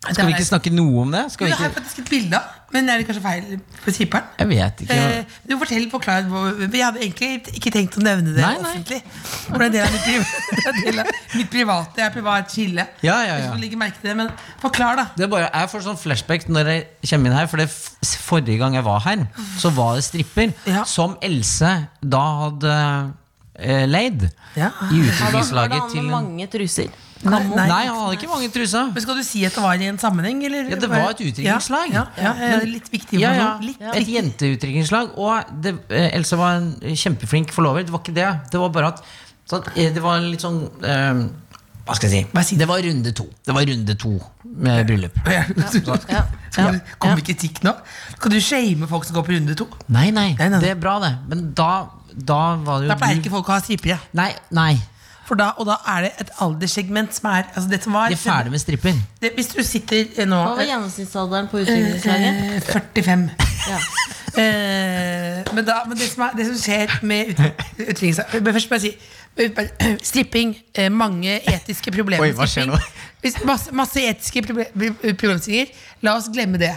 S5: Skal vi ikke snakke noe om det? Skal
S4: Men
S5: vi
S4: Jeg har
S5: ikke?
S4: faktisk et bilde av, men er det kanskje feil på skipperen?
S5: Jeg vet ikke.
S4: Eh, Du fortell, forklar hvor- Jeg hadde egentlig ikke tenkt å nevne det
S5: Nei, nei.
S4: offentlig. For det er del av mitt, priv- det er del av mitt private. Jeg er privat skille.
S5: Ja, ja,
S4: Jeg
S5: ja.
S4: skulle legge merke til det, men forklar, da.
S5: Det er bare, jeg får sånn flashback når jeg kommer inn her. For det f- forrige gang jeg var her, så var det stripper
S4: Ja.
S5: som Else da hadde eh, leid.
S4: Ja.
S3: Var det
S5: I utviklingslaget
S3: han
S5: til
S3: med mange truser?
S4: Nei, nei.
S5: Nei, han hadde ikke mange truser.
S4: Men Skal du si at det var i en sammenheng? Eller?
S5: Ja, det var et utdrikningslag.
S4: Ja, ja, ja, litt viktig
S5: Ja, ja.
S4: informasjon. Litt
S5: Et
S4: viktig.
S5: jenteutdrikningslag. Og det, eh, Else var en kjempeflink forlover. Det var ikke det. Det var bare at så at, eh, Det var litt sånn eh, Hva skal jeg
S4: Hva
S5: si?
S4: sier du?
S5: Det var runde to. Det var runde to med bryllup.
S4: Ja, ja, ja. Kommer kritikk nå? Kan du shame folk som går på runde to?
S5: Nei, nei,
S4: Nei, nei, nei.
S5: det er bra, det. Men da, da var det jo
S4: Da pleier
S5: du-
S4: ikke folk å ha strippere.
S5: Nei, nei.
S4: For da, og da er det et alderssegment som er altså det som var,
S5: Vi er ferdig med stripping.
S4: det, Hvis du sitter eh, nå
S3: Hva var
S4: eh,
S3: gjennomsnittsalderen på utviklingslaget?
S4: Eh, 45. Eh, men, da, men det, som er, det som skjer med ut- utlendings- Men Først må jeg si eh, bare- Stripping. eh, Mange etiske problemer.
S5: Oi,
S4: med
S5: hva skjer
S4: stripping.
S5: nå?
S4: Hvis, masse, masse etiske proble- pro- problemstillinger. La oss glemme det.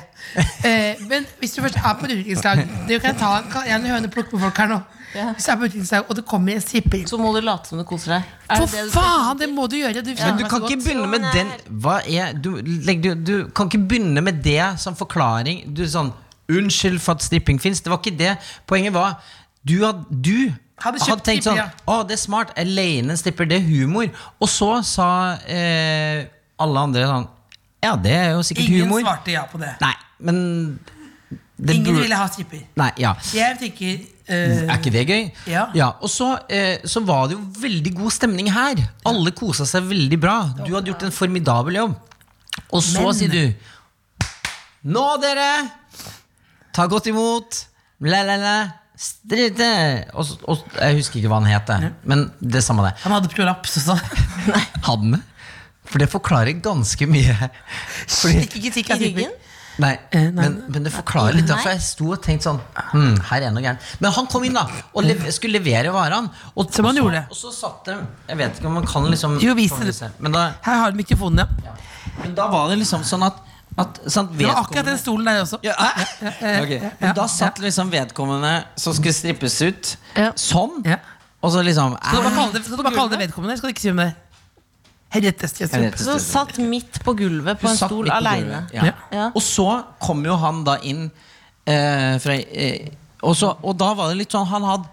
S4: Eh, men hvis du først er på et utviklingslag Det kan jeg ta kan, Jeg er en høne og plukke med folk her nå. Hvis du er på et utviklingslag, og det kommer en stripper
S3: Så må du late som du koser deg. Er
S4: For
S3: det det du-
S4: faen, det må du gjøre! Du,
S5: Men du kan ikke begynne med den Hva er du, legg, du, du kan ikke begynne med det som forklaring. Du er sånn Unnskyld for at stripping fins. Det var ikke det. Poenget var Du, had, du
S4: Hadde
S5: hadde,
S4: kjøpt
S5: tenkt
S4: stripper,
S5: sånn
S4: ja.
S5: Å, det er smart. Jeg leier inn en stripper. Det er humor. Og så sa eh, alle andre sånn Ja, det er jo sikkert
S4: Ingen
S5: humor.
S4: svarte ja på det.
S5: Nei, men det
S4: Ingen
S5: burde-
S4: ville ha stripper.
S5: Nei, ja.
S4: Jeg tenker eh,
S5: Er ikke det gøy?
S4: Ja.
S5: Og så, eh, så var det jo veldig god stemning her. Alle kosa seg veldig bra. Du hadde gjort en formidabel jobb. Og så
S4: Men-
S5: sier du Nå, dere! Ta godt imot! La, la, la. Strite! Og, så- og jeg husker ikke hva han het, jeg. men det er samme det.
S4: Han hadde prolaps sånn. også.
S5: Han For det forklarer ganske mye. Fordi,
S4: Ikke kritikk
S3: I
S4: av
S3: ryggen?
S4: typen.
S5: Nei,
S4: Eh,
S5: men, men det forklarer litt. Derfor jeg sto og tenkte sånn hm, Her er noe gærent. Men han kom inn da og lev skulle levere varene. Og,
S4: Som han
S5: og så,
S4: gjorde.
S5: Og så satt det Jeg vet ikke om man kan liksom
S4: Jo, vis det.
S5: forvise. Men da,
S4: Her har du mikrofonen, ja.
S5: men da var det liksom sånn at, at sant,
S4: Det var akkurat den stolen der også.
S5: ja, hæ? Ok, Men da satt liksom vedkommende som skulle strippes ut,
S4: Ja.
S5: sånn.
S4: Ja.
S5: Og så liksom
S4: Skal du bare kalle det, skal du bare kalle det vedkommende? Skal du ikke si om det? Henriette Stjøstrup.
S5: Henriette.
S3: Så satt midt på gulvet på en
S5: satt
S3: stol
S5: midt på
S3: aleine.
S5: gulvet, Ja.
S3: Ja.
S5: Og så kom jo han da inn eh, fra, eh, og, så, og da var det litt sånn Han hadde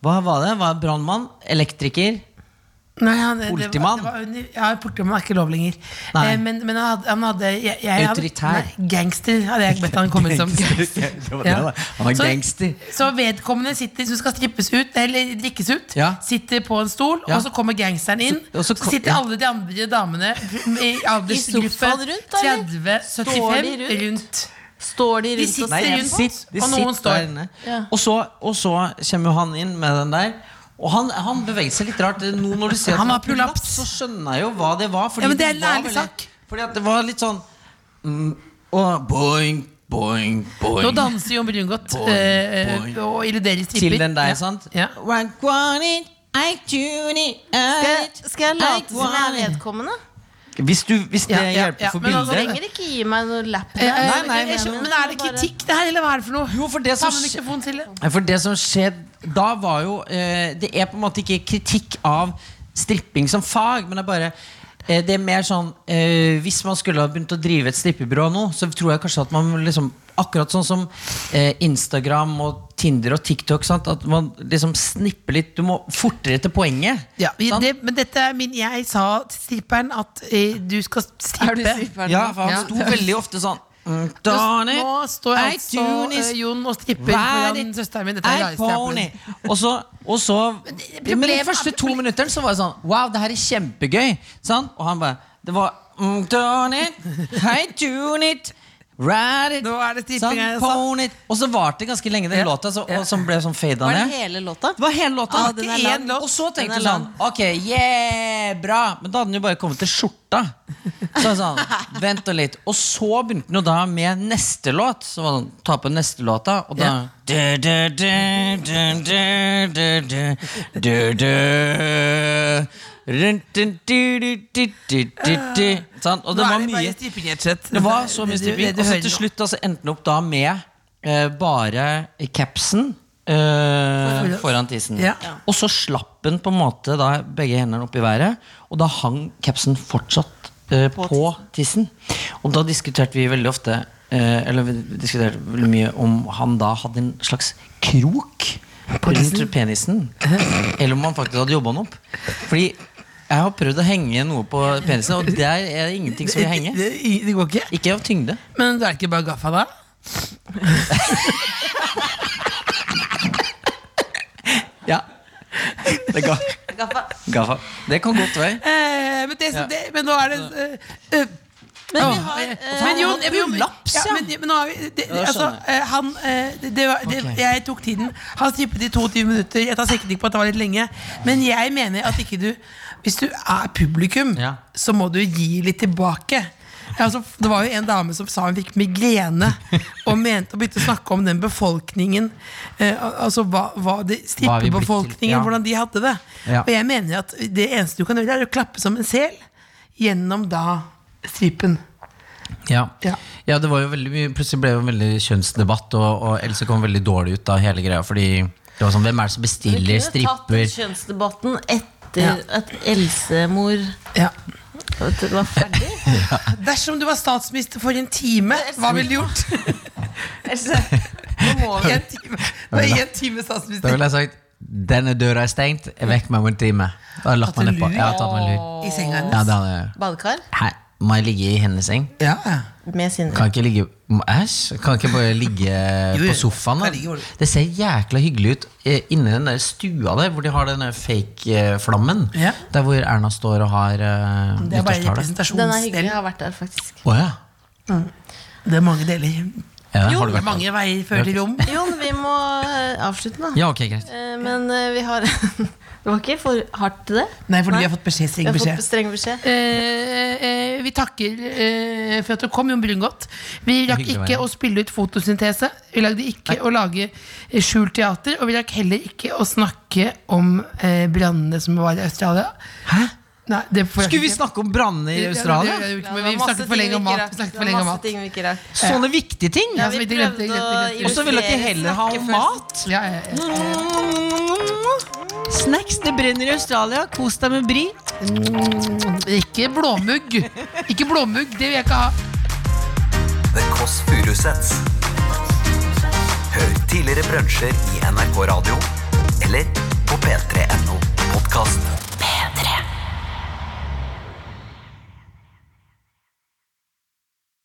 S5: Hva var det? Var det Brannmann? Elektriker?
S4: Nei, han- det- det
S5: Politimann.
S4: var- det var under- Ja, politimann er ikke lov lenger.
S5: Nei.
S4: Eh, men men han, hadde, han hadde jeg, jeg, hadde-
S5: Autoritær.
S4: Nei, gangster hadde jeg bedt han komme ut som. Ja. Så- Så vedkommende sitter, som skal strippes ut, eller drikkes ut,
S5: Ja.
S4: sitter på en stol,
S5: Ja.
S4: og så kommer gangsteren inn.
S5: Så- og så
S4: så,
S5: kom-
S4: sitter
S5: ja.
S4: alle de andre damene i aldersgruppe
S3: sofaen rundt, da, eller?
S4: 30-75
S3: Står de
S4: rundt.
S3: Står de
S4: De
S3: rundt og
S4: sitter
S5: Nei, de
S4: rundt,
S5: sitter, de
S4: og noen
S5: sitter der
S4: står.
S5: inne.
S3: Ja.
S5: Og, så, og så kommer jo han inn med den der. Og han, han beveger seg litt rart. Nå når du ser at
S4: Han har
S5: har prolaps,
S4: prolaps.
S5: så skjønner jeg jo hva det var. Fordi
S4: Ja, men det er en
S5: var
S4: ærlig
S5: veldig-
S4: sak.
S5: Fordi at det var litt sånn mm, og boing, boing, boing.
S4: Nå danser Jon Brungot
S5: Boing,
S4: eh,
S5: boing.
S4: og illuderer stripper.
S5: Til den der,
S4: ja.
S5: sant?
S4: Ja.
S5: Right, want it, I tune it, I
S3: Skal, skal jeg late som jeg er
S5: want it.
S3: vedkommende?
S5: Hvis, du, hvis det
S4: Ja, ja,
S5: hjelper
S4: ja,
S5: for
S4: men altså,
S3: Du
S5: bildet
S3: trenger ikke gi meg noe lapp.
S4: Eh,
S3: der.
S5: Nei, nei,
S4: jeg
S3: men-
S4: skjønner, men er det kritikk, det her, eller hva er det for noe?
S5: Jo, for det
S4: Ta
S5: som
S4: med
S5: skje-
S4: mikrofonen til det.
S5: For det som skjedde da, var jo eh, Det er på en måte ikke kritikk av stripping som fag, men det er bare eh, det er mer sånn eh, Hvis man skulle ha begynt å drive et strippebyrå nå, så tror jeg kanskje at man liksom Akkurat sånn som eh, Instagram og Tinder og TikTok. Sant? At man liksom snipper litt. Du må fortere til poenget.
S4: Ja, vi-
S5: sant?
S4: det, men dette er min Jeg sa til stripperen at eh, du skal strippe.
S5: ja, for han
S4: Ja.
S5: sto veldig ofte sånn mm, darn it,
S4: Nå står
S5: I
S4: altså
S5: tune is
S4: eh, Jon og stripper
S5: Vær
S4: foran
S5: it,
S4: søsteren min. Dette er
S5: I pony.
S4: rareste
S5: Og så, og så Men
S4: det-
S5: de
S4: problemet-
S5: første to minuttene så var det sånn Wow, det her er kjempegøy. Sant? Og han bare Det var mm, turn it, I tune it. Ride it,
S4: Nå er det stripping
S5: sant?
S4: her, altså.
S5: Pony it. Og så varte det ganske lenge, den
S4: Ja,
S5: låta, så,
S4: ja.
S5: og, som ble sånn fada
S3: Var det
S5: ned.
S3: hele låta?
S5: Det var hele låta.
S3: Ah,
S5: det
S3: den
S5: var ikke
S3: er
S5: én
S3: lang.
S5: Og så
S3: Den
S5: tenkte du
S3: er
S5: sånn
S3: lang.
S5: Ok, yeah, bra. Men da hadde den jo bare kommet til skjorta. skjorta. Så jeg sa han, vent nå litt Og så begynte han jo da med neste låt. Så var det sånn, ta på neste låta, og da du, du, du, du, du, du, du, du, du. Run, dun, du, du, du, du, du, du. Sånn, Og
S4: Nå
S5: det
S4: er
S5: var
S4: det bare
S5: mye
S4: stripping, rett og slett.
S5: det var så mye
S4: Det- det-
S5: stripping.
S4: det
S5: Og så
S4: hører
S5: til
S4: nå.
S5: slutt altså, endte den opp da med eh, bare capsen eh, foran tissen.
S4: Ja.
S5: Og så slapp den på en måte da begge hendene opp i været, og da hang capsen fortsatt eh, på, tissen. Og da diskuterte vi veldig ofte eh, Eller vi diskuterte veldig mye om han da hadde en slags krok rundt penisen. Eller om han faktisk hadde jobba den opp. Fordi jeg har prøvd å henge noe på penisen, og det er ingenting som vil henge.
S4: Det, det, det går ikke.
S5: Ikke av tyngde.
S4: Men du er ikke bare gaffa da?
S5: Ja. Det ga. Gaffa. Det kan godt være.
S4: Eh, men, det, som- det, men nå er det eh, eh,
S3: Men vi
S5: Ja.
S3: har eh,
S4: men Jon, jeg,
S5: jo laps,
S4: ja,
S5: ja.
S4: men, men nå har vi det,
S5: Ja,
S4: altså,
S5: skjønner
S4: eh, Han eh, det, det, var- det,
S5: Ok.
S4: Jeg tok tiden. Han strippet i 22 minutter. Jeg tar sikte på at det var litt lenge. Men jeg mener at ikke du Hvis du er publikum,
S5: Ja.
S4: så må du gi litt tilbake. Altså, det var jo en dame som sa hun fikk migrene, og mente å begynne å snakke om den befolkningen. Eh, al- altså hva, hva
S5: Hva
S4: det,
S5: vi blitt til,
S4: Strippebefolkningen,
S5: ja.
S4: hvordan de hadde det.
S5: Ja.
S4: Og jeg mener at det eneste du kan gjøre, er å klappe som en sel gjennom da strippen.
S5: Ja.
S4: Ja.
S5: ja, det var jo veldig mye Plutselig ble det jo en veldig kjønnsdebatt, og, og Else kom veldig dårlig ut av hele greia. Fordi det var sånn, hvem er det som bestiller
S3: Vi kunne tatt
S5: stripper?
S3: kjønnsdebatten etter at Else-mor
S4: Ja.
S3: var ferdig.
S4: Dersom du var statsminister for en time, hva ville du gjort?
S3: Else, nå må vi
S4: En time. Du er en time
S5: Da
S4: statsminister
S5: ville jeg sagt denne døra er stengt, vekk meg om en time. Da hadde jeg lagt
S4: Tatt
S5: meg
S4: en
S5: nedpå.
S4: lur?
S5: Ja, tatt meg en lur.
S4: i senga
S5: Ja,
S4: hennes.
S5: det hadde jeg.
S3: Badekar?
S5: Hæ? Må jeg ligge i hennes seng?
S4: Ja, ja.
S3: Med Sindre.
S5: Kan ikke ligge Æsj! Kan ikke bare ligge
S4: Jo, jo,
S5: på sofaen?
S4: kan ligge hvor
S5: Da?
S4: du-
S5: Det ser jækla hyggelig ut eh, inni den der stua der, hvor de har den der fake-flammen.
S4: Ja.
S5: Der hvor Erna står og har eh,
S4: Det er
S3: Den er
S5: nyttårstale.
S4: bare
S3: hyggelig.
S4: representasjonsdel.
S3: Jeg har vært der, faktisk.
S5: Å ja.
S4: Det er mange deler.
S5: Ja,
S4: Jo,
S5: har du
S4: det
S5: vært
S4: er
S5: der?
S4: mange veier føler rom.
S3: Jon, vi må eh, avslutte, da.
S5: Ja, ok, greit.
S3: Eh, Men eh, vi har Det var ikke for hardt til det?
S4: Nei, fordi vi har fått beskjed,
S3: Vi
S4: streng
S3: har fått
S4: beskjed.
S3: streng beskjed.
S4: Eh, eh, vi takker eh, for at du kom, Jon Brungot. Vi rakk
S5: Hyggelig å
S4: ikke
S5: være
S4: å spille ut fotosyntese. Vi lagde ikke å lage eh, skjult teater. Og vi rakk heller ikke å snakke om eh, brannene som var i Australia. Hæ? Nei, det får jeg
S5: Skulle vi
S4: ikke.
S5: snakke om brannene i
S4: Ja, det
S5: Australia?
S4: gjør vi ikke, men vi snakket for lenge om mat. Vi snakket for lenge om mat.
S5: Sånne viktige ting!
S4: Ja,
S3: vi
S4: vi
S3: prøvde
S4: glemte, glemte,
S3: å
S4: glemte.
S5: Og så vil dere heller ha
S3: snakke
S5: mat?
S4: Ja, ja, ja.
S5: Snacks, det brenner i Australia. Kos deg med bri.
S4: Ikke blåmugg. Ikke blåmugg, det vil jeg ikke ha.
S2: The Kåss Furuseths. Hør tidligere brunsjer i NRK Radio eller